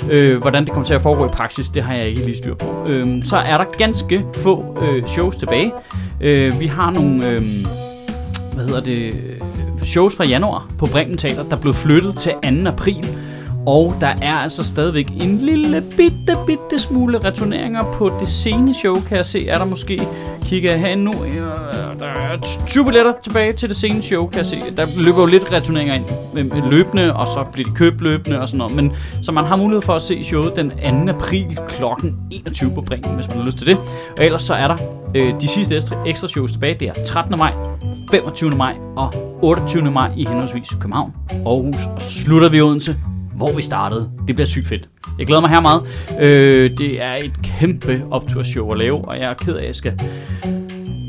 Øh, hvordan det kommer til at foregå i praksis, det har jeg ikke lige styr på. Øh, så er der ganske få øh, shows tilbage. Øh, vi har nogle... Øh, hvad hedder det, øh, shows fra januar på Bremen Teater, der blev flyttet til 2. april. Og der er altså stadigvæk en lille bitte, bitte smule returneringer på det sene show, kan jeg se. Er der måske, kigger jeg herinde nu, øh, der er 20 billetter tilbage til det sene show, kan jeg se. Der løber jo lidt returneringer ind øh, løbende, og så bliver de købt løbende og sådan noget. Men, så man har mulighed for at se showet den 2. april kl. 21 på Bremen, hvis man har lyst til det. Og ellers så er der øh, de sidste ekstra- ekstra shows tilbage. Det er 13. maj, 25. maj og 28. maj i henholdsvis København, Aarhus, og så slutter vi i Odense, hvor vi startede. Det bliver sygt fedt. Jeg glæder mig her meget. Øh, det er et kæmpe opturshow at lave, og jeg er ked af, at jeg skal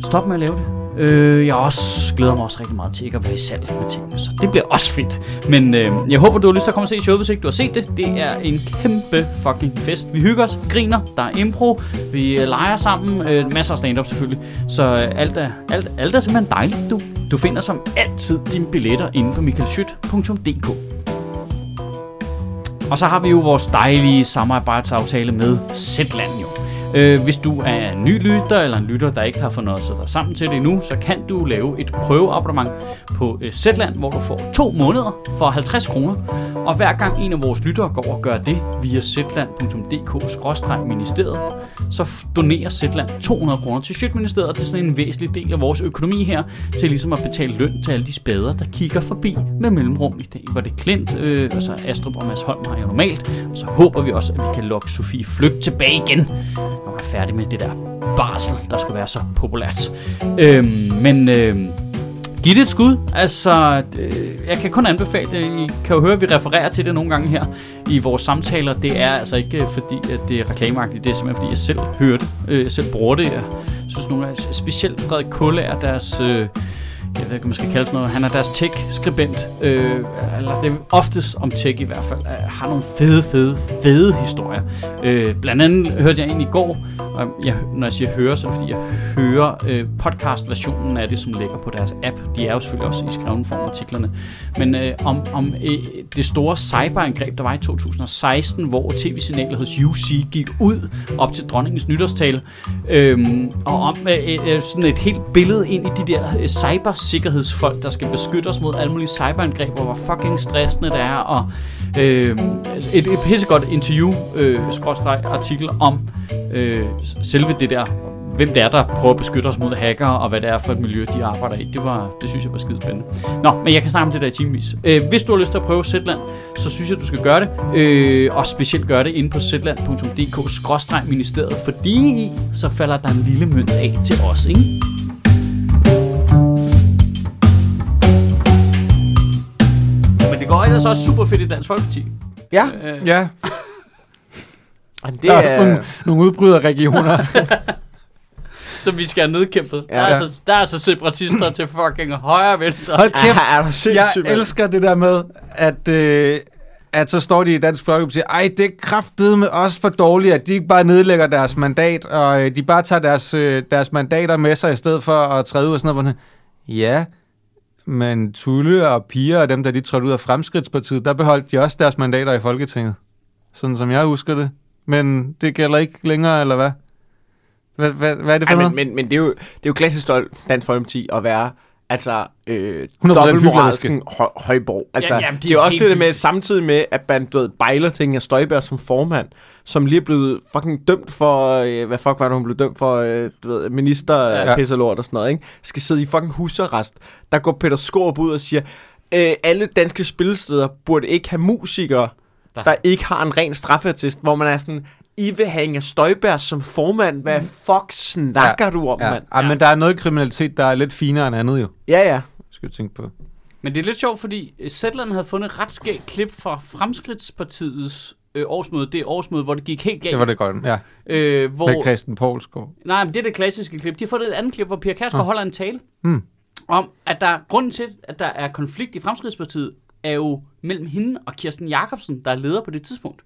stoppe med at lave det. Øh, jeg også glæder mig også rigtig meget til ikke at være i salg med tingene, så det bliver også fedt. Men øh, jeg håber, du har lyst til at komme og se showet, hvis ikke du har set det. Det er en kæmpe fucking fest. Vi hygger os, griner, der er impro, vi øh, leger sammen, øh, masser af stand-up selvfølgelig. Så øh, alt, er, alt, alt er simpelthen dejligt, du. Du finder som altid dine billetter inde på michaelschyt.dk. Og så har vi jo vores dejlige samarbejdsaftale med Zetland jo. Øh, hvis du er en ny lytter eller en lytter, der ikke har fået noget at sætte dig sammen til det endnu, så kan du lave et prøveabonnement på øh, Zetland, hvor du får to måneder for 50 kroner. Og hver gang en af vores lyttere går og gør det via zetland.dk-ministeriet, så f- donerer Zetland 200 kroner til Sjøtministeriet, og det er sådan en væsentlig del af vores økonomi her, til ligesom at betale løn til alle de spæder, der kigger forbi med mellemrum. I dag var det Klint, øh, og så Astrup og Mads Holm har jo normalt, og så håber vi også, at vi kan lokke Sofie Flygt tilbage igen, når hun er færdig med det der barsel, der skulle være så populært. Øhm, men øhm, Giv det et skud. Altså, øh, jeg kan kun anbefale det. I kan jo høre, at vi refererer til det nogle gange her i vores samtaler. Det er altså ikke øh, fordi, at det er reklameagtigt. Det er simpelthen fordi, jeg selv hører det. Øh, jeg selv bruger det. Jeg synes nogle af, specielt Frederik Kulle er deres... Øh, jeg ved ikke, om man skal kalde sådan noget. Han er deres tech-skribent. Øh, eller det er oftest om tech i hvert fald. Øh, har nogle fede, fede, fede historier. Øh, blandt andet hørte jeg en i går, og jeg, når jeg siger hører, så er det fordi, jeg hører øh, podcast-versionen af det, som ligger på deres app. De er jo selvfølgelig også i skreven form artiklerne. Men øh, om, om øh, det store cyberangreb, der var i 2016, hvor tv-signalet hos UC gik ud op til dronningens nytårstale, øhm, og om øh, øh, sådan et helt billede ind i de der øh, cybersikkerhedsfolk, der skal beskytte os mod alle mulige cyberangreb, og hvor fucking stressende det er, og øh, et, et pissegodt interview, øh, skråstreg artikel om øh, selve det der hvem det er, der prøver at beskytte os mod hackere, og hvad det er for et miljø, de arbejder i. Det, var, det synes jeg var skide spændende. Nå, men jeg kan snakke om det der i timevis. Øh, hvis du har lyst til at prøve Zetland, så synes jeg, du skal gøre det. Øh, og specielt gøre det inde på zetland.dk-ministeriet, fordi så falder der en lille mønt af til os, ikke? Men det går ellers også super fedt i Dansk Folkeparti.
Ja,
Øh,
Ja,
og
det
det
der er, også
er...
nogle, nogle udbryderregioner.
som vi skal have nedkæmpet. Ja.
Ja.
Der, er så, der er så separatister til fucking højre og venstre.
Hold
Ah,
kæft,
er du sindssyg,
jeg
mand.
elsker det der med, at, øh, at så står de i Dansk Folkeparti og siger, ej, det er kraftedet med os for dårligt, at de ikke bare nedlægger deres mandat, og øh, de bare tager deres, øh, deres mandater med sig, i stedet for at træde ud og sådan noget. hvor man sådan, Ja, men Tulle og Pia og dem, der de trådte ud af Fremskridtspartiet, der beholdt de også deres mandater i Folketinget. Sådan som jeg husker det. Men det gælder ikke længere, eller hvad? Hvad, hvad, hvad er det for
Ej,
noget?
men, men, men det, er jo, det er jo klassisk stolt Dansk Folkeparti at være altså øh,
100%
dobbeltmoralsken høj, højborg. Altså,
Ja, jamen, det
det, er
er
jo også
helt
det der med, samtidig med, at man du ved, bejler ting af Støjberg som formand, som lige er blevet fucking dømt for, øh, hvad fuck var det, hun blev dømt for, øh, du ved, minister
Ja.
ja. pisse og lort og sådan noget, ikke? skal sidde i fucking husarrest. Der går Peter Skorup ud og siger, øh, alle danske spillesteder burde ikke have musikere,
Der-
der, der ikke har en ren straffeattest, hvor man er sådan, I vil have Inger Støjberg som formand, hvad fuck snakker ja. du om,
Mm. ja.
mand?
Ja, men der er noget kriminalitet, der er lidt finere end andet jo,
Ja, ja.
skal du tænke på.
Men det er lidt sjovt, fordi øh, Zetland havde fundet et ret skægt klip fra Fremskridtspartiets øh, årsmøde. Det årsmøde, hvor det gik helt galt.
Det var det godt, ja.
Øh, hvor,
Med Christian Poulsgaard.
Nej, men det er det klassiske klip. De har fundet et andet klip, hvor Pia Kærsgaard
Ah.
holder en tale
Mm.
om, at der er grunden til, at der er konflikt i Fremskridspartiet, er jo mellem hende og Kirsten Jakobsen, der er leder på det tidspunkt.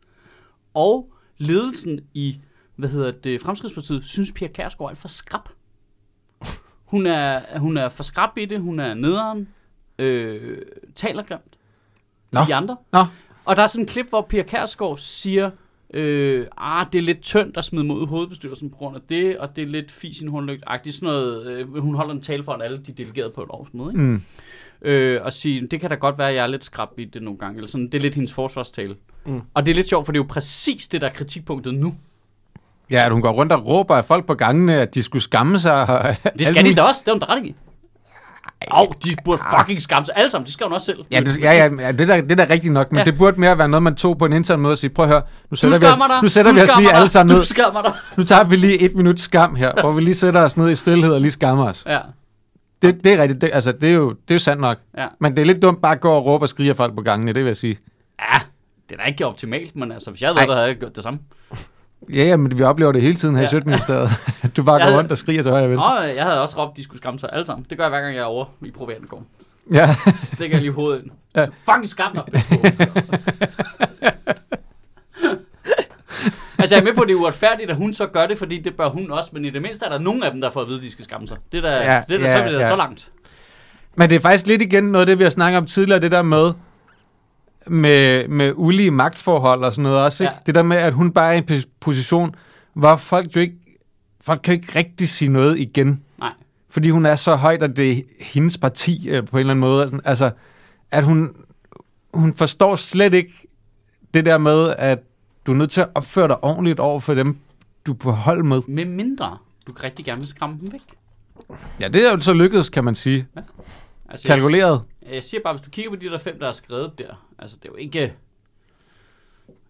Og ledelsen i, hvad hedder det, Fremskridspartiet, synes Pia Kærsgaard er alt for skrab. Hun er, hun er for skrab i det, hun er nederen, øh, taler grimt til
Nå.
de andre.
Nå.
Og der er sådan et klip, hvor Pia Kærsgaard siger, øh, ah, det er lidt tyndt at smide mod hovedbestyrelsen på grund af det, og det er lidt fis i en hundlygt sådan noget, øh, hun holder en tale for alle de delegerede på et årsmøde, ikke?
Mm.
Øh, og sige, det kan da godt være, at jeg er lidt skrab i det nogle gange, eller sådan, det er lidt hendes forsvarstale. Mm.
Mm.
Og det er lidt sjovt, for det er jo præcis det, der er kritikpunktet nu.
Ja, at hun går rundt og råber af folk på gangene, at de skulle skamme sig. Og
Det skal de da også, det er hun da ret i. Åh, oh, de burde fucking skamme sig alle sammen, det skal hun også selv.
Ja, det, ja, ja, ja det, der, det der er rigtigt nok, men
Ja.
ja. det burde mere være noget, man tog på en intern måde og sige, prøv at høre, nu
Du
sætter vi
skammer
os,
dig.
nu sætter
du
vi os
skammer
lige
dig,
alle sammen
Du
ned.
skammer dig.
Nu tager vi lige et minut skam her, hvor vi lige sætter os ned i stillhed og lige skammer os.
Ja,
Det, det er rigtigt, det, altså det er, jo, det er jo sandt nok.
ja.
Men det er lidt dumt bare at gå og råbe og skrige af folk på gangene, det vil jeg sige.
Ja, det er da ikke optimalt, men altså, hvis jeg havde været
Ej.
der, havde jeg gjort det samme.
Ja, ja, men vi oplever det hele tiden her
Ja.
ja. i Sødministeriet. Du bare
Jeg
går
havde-
rundt og skriger til højre og venstre.
Nå, jeg havde også råbt, at de skulle skamme sig alle sammen. Det gør jeg hver gang, jeg er over i privaten går.
Ja.
Stikker jeg lige hovedet ind.
Ja.
Du fucking skam dig. Peter Fogh. altså, jeg er med på, at det er uretfærdigt, at hun så gør det, fordi det bør hun også. Men i det mindste er der nogen af dem, der får at vide, at de skal skamme sig. Det er da, ja,
Ja,
det er da
ja,
så, vi er da
ja.
så langt.
Men det er faktisk lidt igen noget af det, vi har snakket om tidligere, det der med, med, med ulige magtforhold og sådan noget også. Ikke?
Ja.
Ja. Det der med, at hun bare er i en pos- position, hvor folk jo ikke, folk kan jo ikke rigtig sige noget igen.
Nej.
Fordi hun er så højt, at det er hendes parti øh, på en eller anden måde. Sådan, Altså, at hun, hun forstår slet ikke det der med, at du er nødt til at opføre dig ordentligt over for dem, du er på hold med.
Med mindre, du kan rigtig gerne vil skræmme dem væk.
Ja, det er jo så lykkedes, kan man sige.
Altså, jeg-
Kalkuleret.
Jeg siger bare, hvis du kigger på de der fem, der er skrevet der. Altså, det er jo ikke...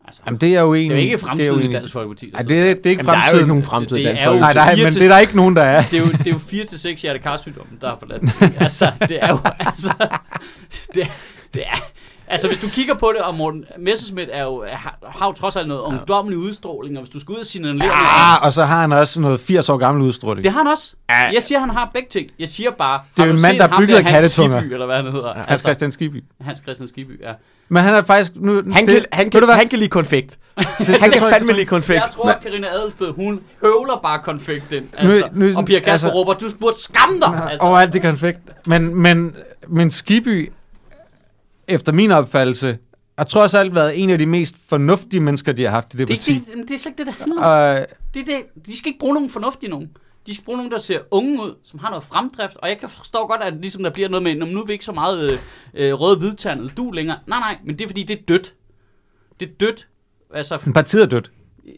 Altså,
Jamen, det er jo
det
egentlig...
er jo ikke
jo
fremtiden i
egentlig-
Dansk Folkeparti. der
Ej,
sidder
det, er- det er ikke
Jamen, der er jo
fremtiden.
ikke nogen fremtid
Det-
i
det
Dansk
er jo-
Folkeparti.
Nej, nej,
fire
men
til-
det er der ikke nogen, der er.
det er jo, det er jo 4 til 6 hjertekarsygdommen, der er forladt. den. Altså, det er jo, altså, det, det er, altså, hvis du kigger på det, og Morten Messerschmidt er jo, har, har jo trods alt noget ungdommelig udstråling, og hvis du skal ud og signalere noget,
Ah, og så har han også noget 80 år gammel udstråling.
det har han også.
Ja.
Jeg siger, han har begge ting. Jeg siger bare, har
Det er jo
du
en mand,
set
der er
ham
bygget af
Hans
kattetunger.
Skibby, eller hvad han hedder.
Hans altså, Christian Skibby.
Hans Christian Skibby, ja.
Men han er faktisk... Nu,
Han,
det,
kan, han,
ved du
kan,
hvad?
han kan lide konfekt.
det,
Han
det
kan
tror jeg-
fandme lide konfekt.
Jeg tror, at Karina Adelsbød, hun høvler bare konfekten.
Nu-
Altså.
nu-
og Pia Kærsgaard altså,
altså-
råber, du burde skamme dig. Altså.
Overalt det konfekt. Men, men, men Skibby, efter min opfattelse, har trods alt været en af de mest fornuftige mennesker, de har haft i det,
det, er
parti.
ikke det, jamen, det er slet ikke det, det handler om.
Og,
Det er det. De skal ikke bruge nogen fornuftige nogen. De skal bruge nogen, der ser unge ud, som har noget fremdrift. Og jeg kan forstå godt, at ligesom der bliver noget med, "Nå, men nu er vi ikke så meget øh, øh, røde hvidtandet du længere. Nej, nej, men det er fordi, det er dødt. Det er dødt. Altså,
men partiet er dødt.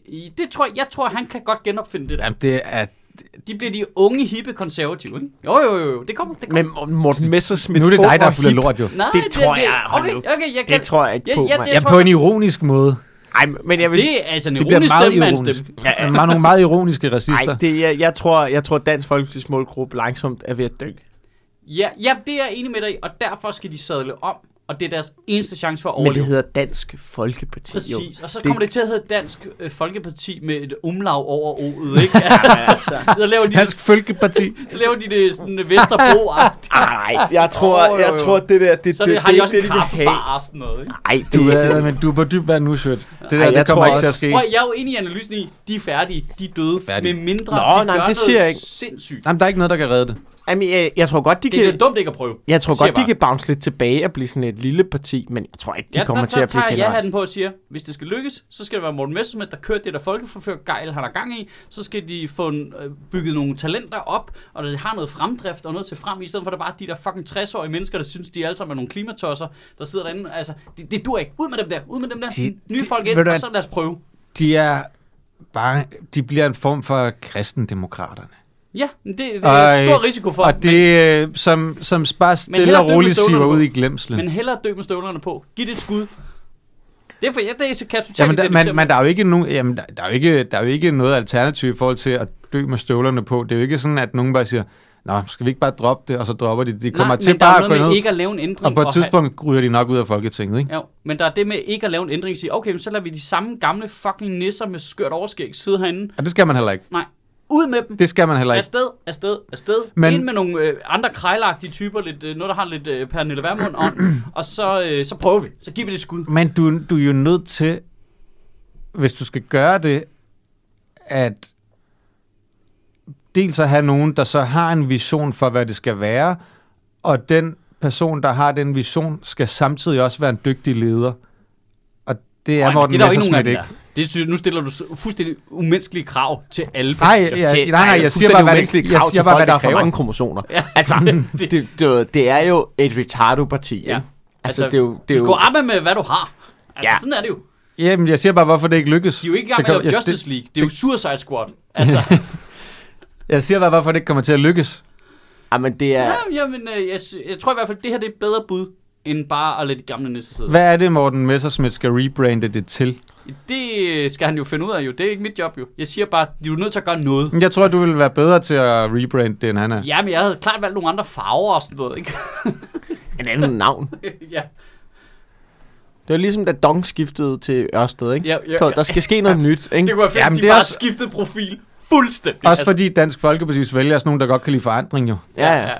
i- det tror jeg, jeg tror, han kan godt genopfinde det der.
Jamen, det er,
de bliver de unge, hippe konservative, ikke? Jo, jo, jo, jo. det kommer, det kommer.
Men Morten Messersmith
Nu er det
ung
dig, der er
og
fuld af
hip,
lort, jo.
Nej,
det tror jeg, hold
Okay,
nu.
okay, jeg kan...
Det tror jeg ikke
Ja,
på,
ja,
mand.
det-
Ja,
tror
på
jeg-
en ironisk måde.
Ej, men jeg vil...
Det er altså en
Det bliver
ironisk
meget
stemme, man
ironisk.
stemme.
Ja, Der er nogle meget ironiske racister.
Ej, det, jeg, jeg, tror, jeg tror, Dansk Folkeparti's målgruppe langsomt er ved at dø.
Ja, ja, det er jeg enig med dig i, og derfor skal de sadle om, og det er deres eneste chance for at
Men det
overleve.
hedder Dansk Folkeparti, jo.
Præcis, og så
Det-
kommer det til at hedde Dansk øh, Folkeparti med et umlav over O'et, ikke? Ja, altså. Så laver de,
Dansk Folkeparti.
så laver de det sådan øh, vesterbro -agt.
Ej, jeg tror,
Åh,
oh,
jo,
jeg
jo.
tror det der, det,
Så
det,
det, har de
det,
også
det,
en
det, det, det,
kaffebar og sådan noget, ikke?
Ej, det,
Du
det,
er, men du er på dyb vand nu, sødt. Det der,
Ej,
det
jeg
kommer
tror
ikke til at
også-
ske.
Prøv, at- jeg er jo enig i analysen i, de er færdige, de er døde,
Færdige.
med mindre
Nå,
de
nej,
gør
det
noget
siger jeg ikke.
sindssygt.
Jamen, der er ikke noget, der kan redde det.
Jamen, jeg, jeg tror godt, de
Det er da
kan...
dumt ikke at prøve.
Jeg tror
siger
godt, de
bare.
kan bounce lidt tilbage og blive sådan et lille parti, men jeg tror ikke, de kommer
der,
til at blive
tager jeg
generelt.
ja-hatten på og siger, hvis det skal lykkes, så skal det være Morten Messerschmidt, der kører det der folkeforfører gejl, han har gang i. Så skal de få en, øh, bygget nogle talenter op, og det har noget fremdrift og noget til frem, i stedet for at der bare er de der fucking 60-årige mennesker, der synes, de alle sammen er nogle klimatosser, der sidder derinde. Altså, det, det dur ikke. Ud med dem der, ud med dem der.
De-
Nye
de-
folk ind,
ved du
og
hvad?
så lad os prøve.
De er bare... De bliver en form for kristendemokraterne.
Ja, men det, det er en
Ej,
stor risiko for,
Og det, øh, som, som bare stille
hellere dø
og
med
roligt siver
støvlerne
ud
på.
i glemslen.
men hellere dø med støvlerne på. Giv det et skud. Det er for, ja, det er så kan jeg totalt
Jamen, der,
identificere mig.
man, man, der er jo ikke nogen, jamen, der, der, er jo ikke, der er jo ikke noget alternativ i forhold til at dø med støvlerne på. Det er jo ikke sådan, at nogen bare siger, Nå, skal vi ikke bare droppe det, og så dropper de det. De kommer
Nej,
til
men der er
bare
jo
at gå
noget med
ned,
ikke at lave en ændring.
og på et
have-
tidspunkt ryger de nok ud af Folketinget, ikke?
Ja, men der er det med ikke at lave en ændring og sige, okay, men så lader vi de samme gamle fucking nisser med skørt overskæg sidde herinde.
Og det skal man heller ikke.
Nej, ud med dem.
Det skal man heller ikke.
Afsted, afsted, afsted. Men...
Men-
Ind med nogle øh, andre krejlagtige typer, lidt, øh, noget der har lidt øh, Pernille Vermund ånd, og så, øh, så prøver vi. Så giver vi det et skud.
Men du, du er jo nødt til, hvis du skal gøre det, at dels at have nogen, der så har en vision for, hvad det skal være, og den person, der har den vision, skal samtidig også være en dygtig leder. Og det er
Ej, men
Morten
det er der jo ikke nogen af
Messerschmidt
dem,
ikke.
der. Det synes, nu stiller du s- fuldstændig umenneskelige krav til alle.
Nej, ja, nej, nej, jeg siger bare, hvad det, jeg siger bare, hvad det
der er for
kræver.
mange kromosomer.
Ja,
Altså, det, det, det er jo et retardo-parti,
Ja.
ja. Altså, altså, det er jo... Det er
du skal
jo
jo arbejde med, hvad du har. Altså, ja.
Ja.
sådan er det jo.
Jamen, jeg siger bare, hvorfor det ikke lykkes.
De er jo ikke i gang
Det
med at
kommer-
lave
jeg-
Justice League. Det er jo Suicide Squad. Altså,
det- Jeg siger bare, hvorfor det ikke kommer til at lykkes.
Jamen, det er...
ja, jamen, øh, jeg, s- jeg tror i hvert fald, det her det er et bedre bud, end bare at lade de gamle nisser sidde.
Hvad er det, Morten Messerschmidt skal rebrande det til?
Det øh, skal han jo finde ud af jo. Det er ikke mit job jo. Jeg siger bare, du er nødt til at gøre noget.
Jeg tror, du vil være bedre til at rebrande det, end han er.
Jamen, jeg havde klart valgt nogle andre farver og sådan noget, ikke?
En anden navn.
ja.
Det var ligesom, da Dong skiftede til Ørsted, ikke?
Ja, ja,
Så
ja.
Der skal ske noget nyt, ikke?
Det kunne være fedt,
Jamen,
de
det er
bare
også-
skiftede profil fuldstændig.
altså-
Altså,
Også fordi Dansk Folkeparti's vælger er sådan nogen, der godt kan lide forandring jo.
Ja, ja.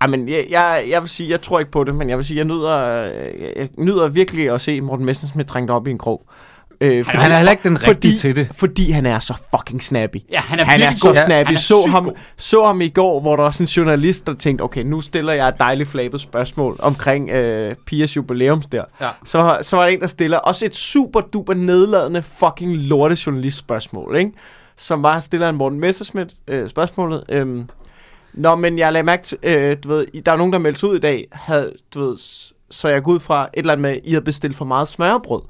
Ej, men jeg, jeg, jeg vil sige, jeg tror ikke på det, men jeg vil sige, jeg nyder, øh, jeg, jeg nyder virkelig at se Morten Messersmith trængt op i en krog. Øh, fordi,
Han er heller ikke den rigtige
fordi,
til det.
Fordi han er så fucking snappy.
Ja, han er
han er
virkelig
så
god.
snappy.
Han er
så,
sygt
ham,
god.
så ham i går, hvor der var sådan en journalist, der tænkte, okay, nu stiller jeg et dejligt flabet spørgsmål omkring øh, Pias jubilæums der.
Ja.
Så, så var der en, der stiller også et super duper nedladende fucking lorte journalist spørgsmål, ikke? Som var stilleren Morten Messerschmidt øh, spørgsmålet. Øhm, Nå, men jeg lagde mærke til, øh, du ved, I- der er nogen, der meldte sig ud i dag, havde, du ved, s- så jeg går ud fra et eller andet med, I havde bestilt for meget smørbrød.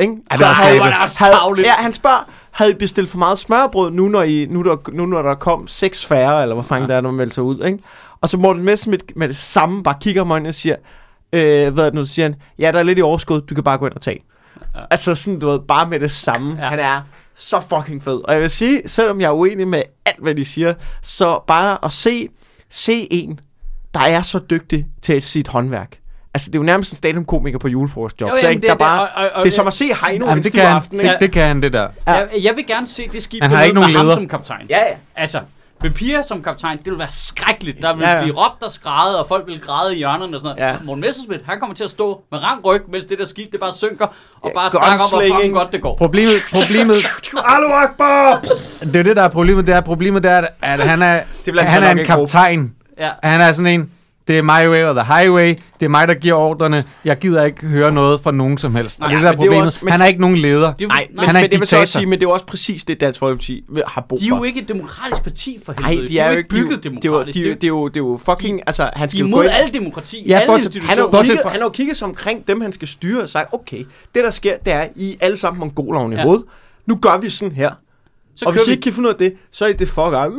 Ikke?
det var også det.
havde,
tarveligt.
ja, han spørger, havde I bestilt for meget smørbrød, nu når, I, nu, der, nu når der kom seks færre, eller hvor fanden ja. der er, når man melder sig ud, ikke? Og så Morten Messerschmidt med det samme bare kigger mig ind og siger, øh, hvad er det nu, så siger han, ja, der er lidt i overskud, du kan bare gå ind og tage. Ja. Altså sådan, du ved, bare med det samme.
Ja.
Ja. Han er så fucking fed. Og jeg vil sige, selvom jeg er uenig med alt, hvad de siger, så bare at se, se en, der er så dygtig til sit håndværk. Altså, det er jo nærmest en stand-up-komiker på julefrokostjob.
Jo,
Jo,
jamen,
jamen, ikke,
det
der
er det.
bare,
Og- og- og-
det er som at se Heino
Jamen,
en
det,
stiv
kan han,
aften. Ikke?
det, det kan han, det der.
Ja.
Jeg, jeg vil gerne se det skib
Han har
gå ned
ikke nogen
med ham
leder.
som kaptajn.
Ja, ja.
Altså, med Pia som kaptajn, det ville være skrækkeligt. Der ville ja,
Ja,
ja.
ja.
blive råbt og skrædet, og folk ville græde i hjørnerne og sådan noget. Ja.
Ja.
Morten Messerschmidt, han kommer til at stå med rang ryg, mens det der skib, det bare synker, og
Ja,
bare snakker om, hvor fucking
gunslinging.
godt det går.
Problemet, problemet,
Allahu Akbar!
det er jo det, der er problemet. Det er, problemet det er, at- at han er,
bliver han
han
så
er en
nok ikke god.
kaptajn.
Ja.
Han er sådan en, det er my way or the highway. Det er mig, der giver ordrene. Jeg gider ikke høre noget fra nogen som helst. Og
Nej,
det er det, der er
men det er jo
problemet.
også- men-
han er ikke nogen leder.
Det er jo-
Nej,
nej,
men,
han er
men
en
det vil så også
diktator.
sige, men det er jo også præcis det, Dansk Folkeparti har brug
De er
for.
jo ikke et demokratisk parti for
Nej,
helvede.
de er jo ikke
bygget
de, er jo-
demokratisk.
de, er jo- det er jo, det er jo fucking, altså han
de er
skal jo gå
imod
ind.
al demokrati,
Ja,
ja, alle
bortset-
institutioner.
Han har, jo
Bortset
kigget,
fra-
han har jo kigget sig omkring dem, han skal styre og sagt, okay, det der sker, det er, I er alle sammen mongoler oven i ja. hovedet. Nu gør vi sådan her.
Så
og
kører
hvis I ikke kan finde ud af det, så er I det fucker.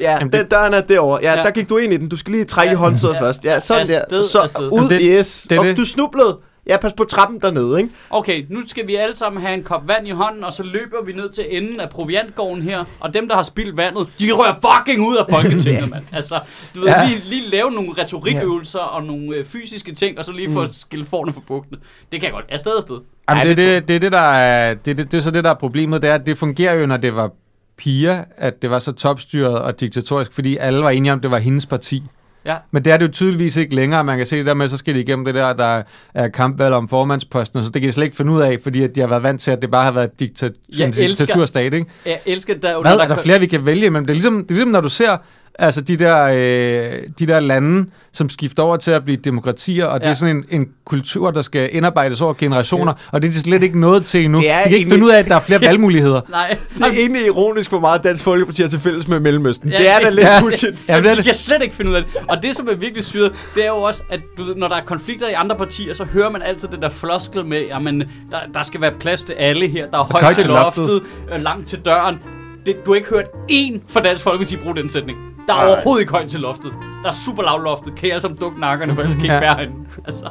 Ja,
Jamen, det-
den døren er derovre. Ja,
Ja.
der gik du ind i den. Du skal lige trække
Ja.
i håndtaget
Ja.
først. Ja, sådan der.
Afsted,
Så
afsted.
ud,
Jamen, det-
yes.
det er
og
det.
du snublede. Ja, pas på trappen dernede, ikke?
Okay, nu skal vi alle sammen have en kop vand i hånden, og så løber vi ned til enden af proviantgården her, og dem, der har spildt vandet, de rører fucking ud af Folketinget, mand. Altså, du ved,
Ja.
ja. lige, lige lave nogle retorikøvelser og nogle øh, fysiske ting, og så lige få mm. skilt forne for bugtene. Det kan jeg godt. Afsted, afsted.
Jamen,
Ej,
det,
det
er det, det, er det, der er, det, er det, det er så det, der er problemet, det er, at det fungerer jo, når det var piger, at det var så topstyret og diktatorisk, fordi alle var enige om, at det var hendes parti.
Ja.
Men det er det jo tydeligvis ikke længere. Man kan se det der med, så skal de igennem det der, der er kampvalg om formandsposten, og så det kan de slet ikke finde ud af, fordi at de har været vant til, at det bare har været diktat-
Jeg
en
elsker-
diktaturstat, ikke?
Jeg elsker, der er jo
Hvad?
noget,
Er der
kan-
flere, vi kan vælge imellem? Det er ligesom, det er ligesom når du ser altså, de, der, øh, de der lande, som skifter over til at blive demokratier, og ja. det
Ja.
er sådan en, en kultur, der skal indarbejdes over generationer, og det er de slet ikke nået til endnu. De
Det er
kan ikke
egentlig-
finde ud af, at der er flere valgmuligheder.
Nej,
Det er egentlig ironisk, hvor meget Dansk Folkeparti har til fælles med Mellemøsten.
Ja,
det er da
det-
lidt
Ja.
pudsigt.
Ja,
Jamen,
det er
det
det.
de kan slet ikke finde ud af det. Og det, som er virkelig syret, det er jo også, at du ved, når der er konflikter i andre partier, så hører man altid den der floskel med, jamen, der, der skal være plads til alle her, der er højt til loftet, øh, langt til døren. Det, du har ikke hørt én fra Dansk Folkeparti bruge den sætning. Der er
Nej.
overhovedet ikke højt til loftet. Der er super lavt loftet. Kan I alle sammen dukke nakkerne, for ellers kan I ikke
Ja.
være herinde. Altså,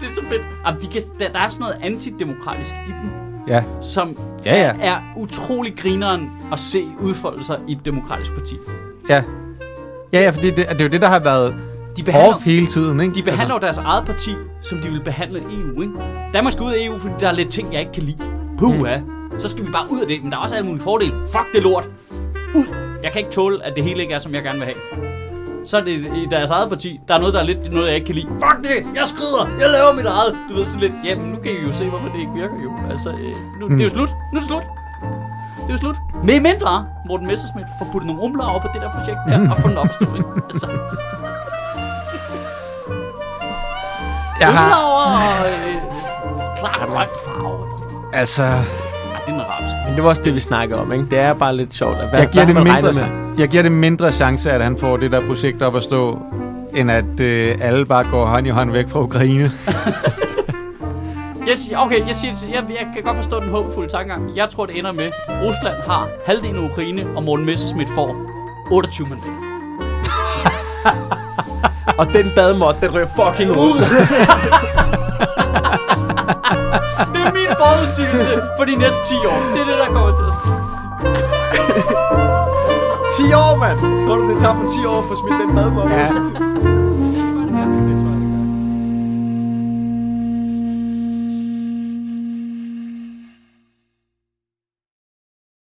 det er så fedt. Jamen, de kan, der, der er sådan noget antidemokratisk i dem,
Ja.
som
Ja, ja.
er utrolig grineren at se udfolde sig i et demokratisk parti.
Ja, ja, ja fordi det, det er jo det, der har været
De
off hele tiden, ikke?
De behandler jo deres eget parti, som de vil behandle EU, ikke? Danmark skal ud af EU, fordi der er lidt ting, jeg ikke kan lide. Puha. Mm. Så skal vi bare ud af det, men der er også alle mulige fordele. Fuck det lort. Ud. Jeg kan ikke tåle, at det hele ikke er, som jeg gerne vil have. Så er det i deres eget parti. Der er noget, der er lidt noget, jeg ikke kan lide. Fuck det! Jeg skrider! Jeg laver mit eget! Du ved sådan lidt, jamen nu kan I jo se, hvorfor det ikke virker jo. Altså, øh, nu, mm. det er jo slut. Nu er det slut. Det er jo slut. Med mindre Morten Messerschmidt får puttet nogle rumler over på det der projekt der, og få den opstået, ikke? Altså,
Altså, Jeg
Humler
har,
over øh, klart grøn farve. eller sådan noget.
altså,
Ej, det er noget raps.
Men det var også det, vi snakkede om, ikke? Det er bare lidt sjovt. Hvad,
jeg giver,
hvad
det
har man regnet
mindre, jeg giver det mindre chance, at han får det der projekt op at stå, end at øh, alle bare går hånd i hånd væk fra Ukraine.
Jeg siger, okay, jeg, siger, jeg, jeg kan godt forstå den håbfulde tankegang. Jeg tror, det ender med, at Rusland har halvdelen af Ukraine, og Morten Messerschmidt får 28 mandater.
Og den badmåt, den rører fucking ud.
Det er min forudsigelse for de næste 10 år. Det er det, der kommer til at ske.
10 år, mand! Tror du, det tager på 10 år for at smide den badmåt?
Ja.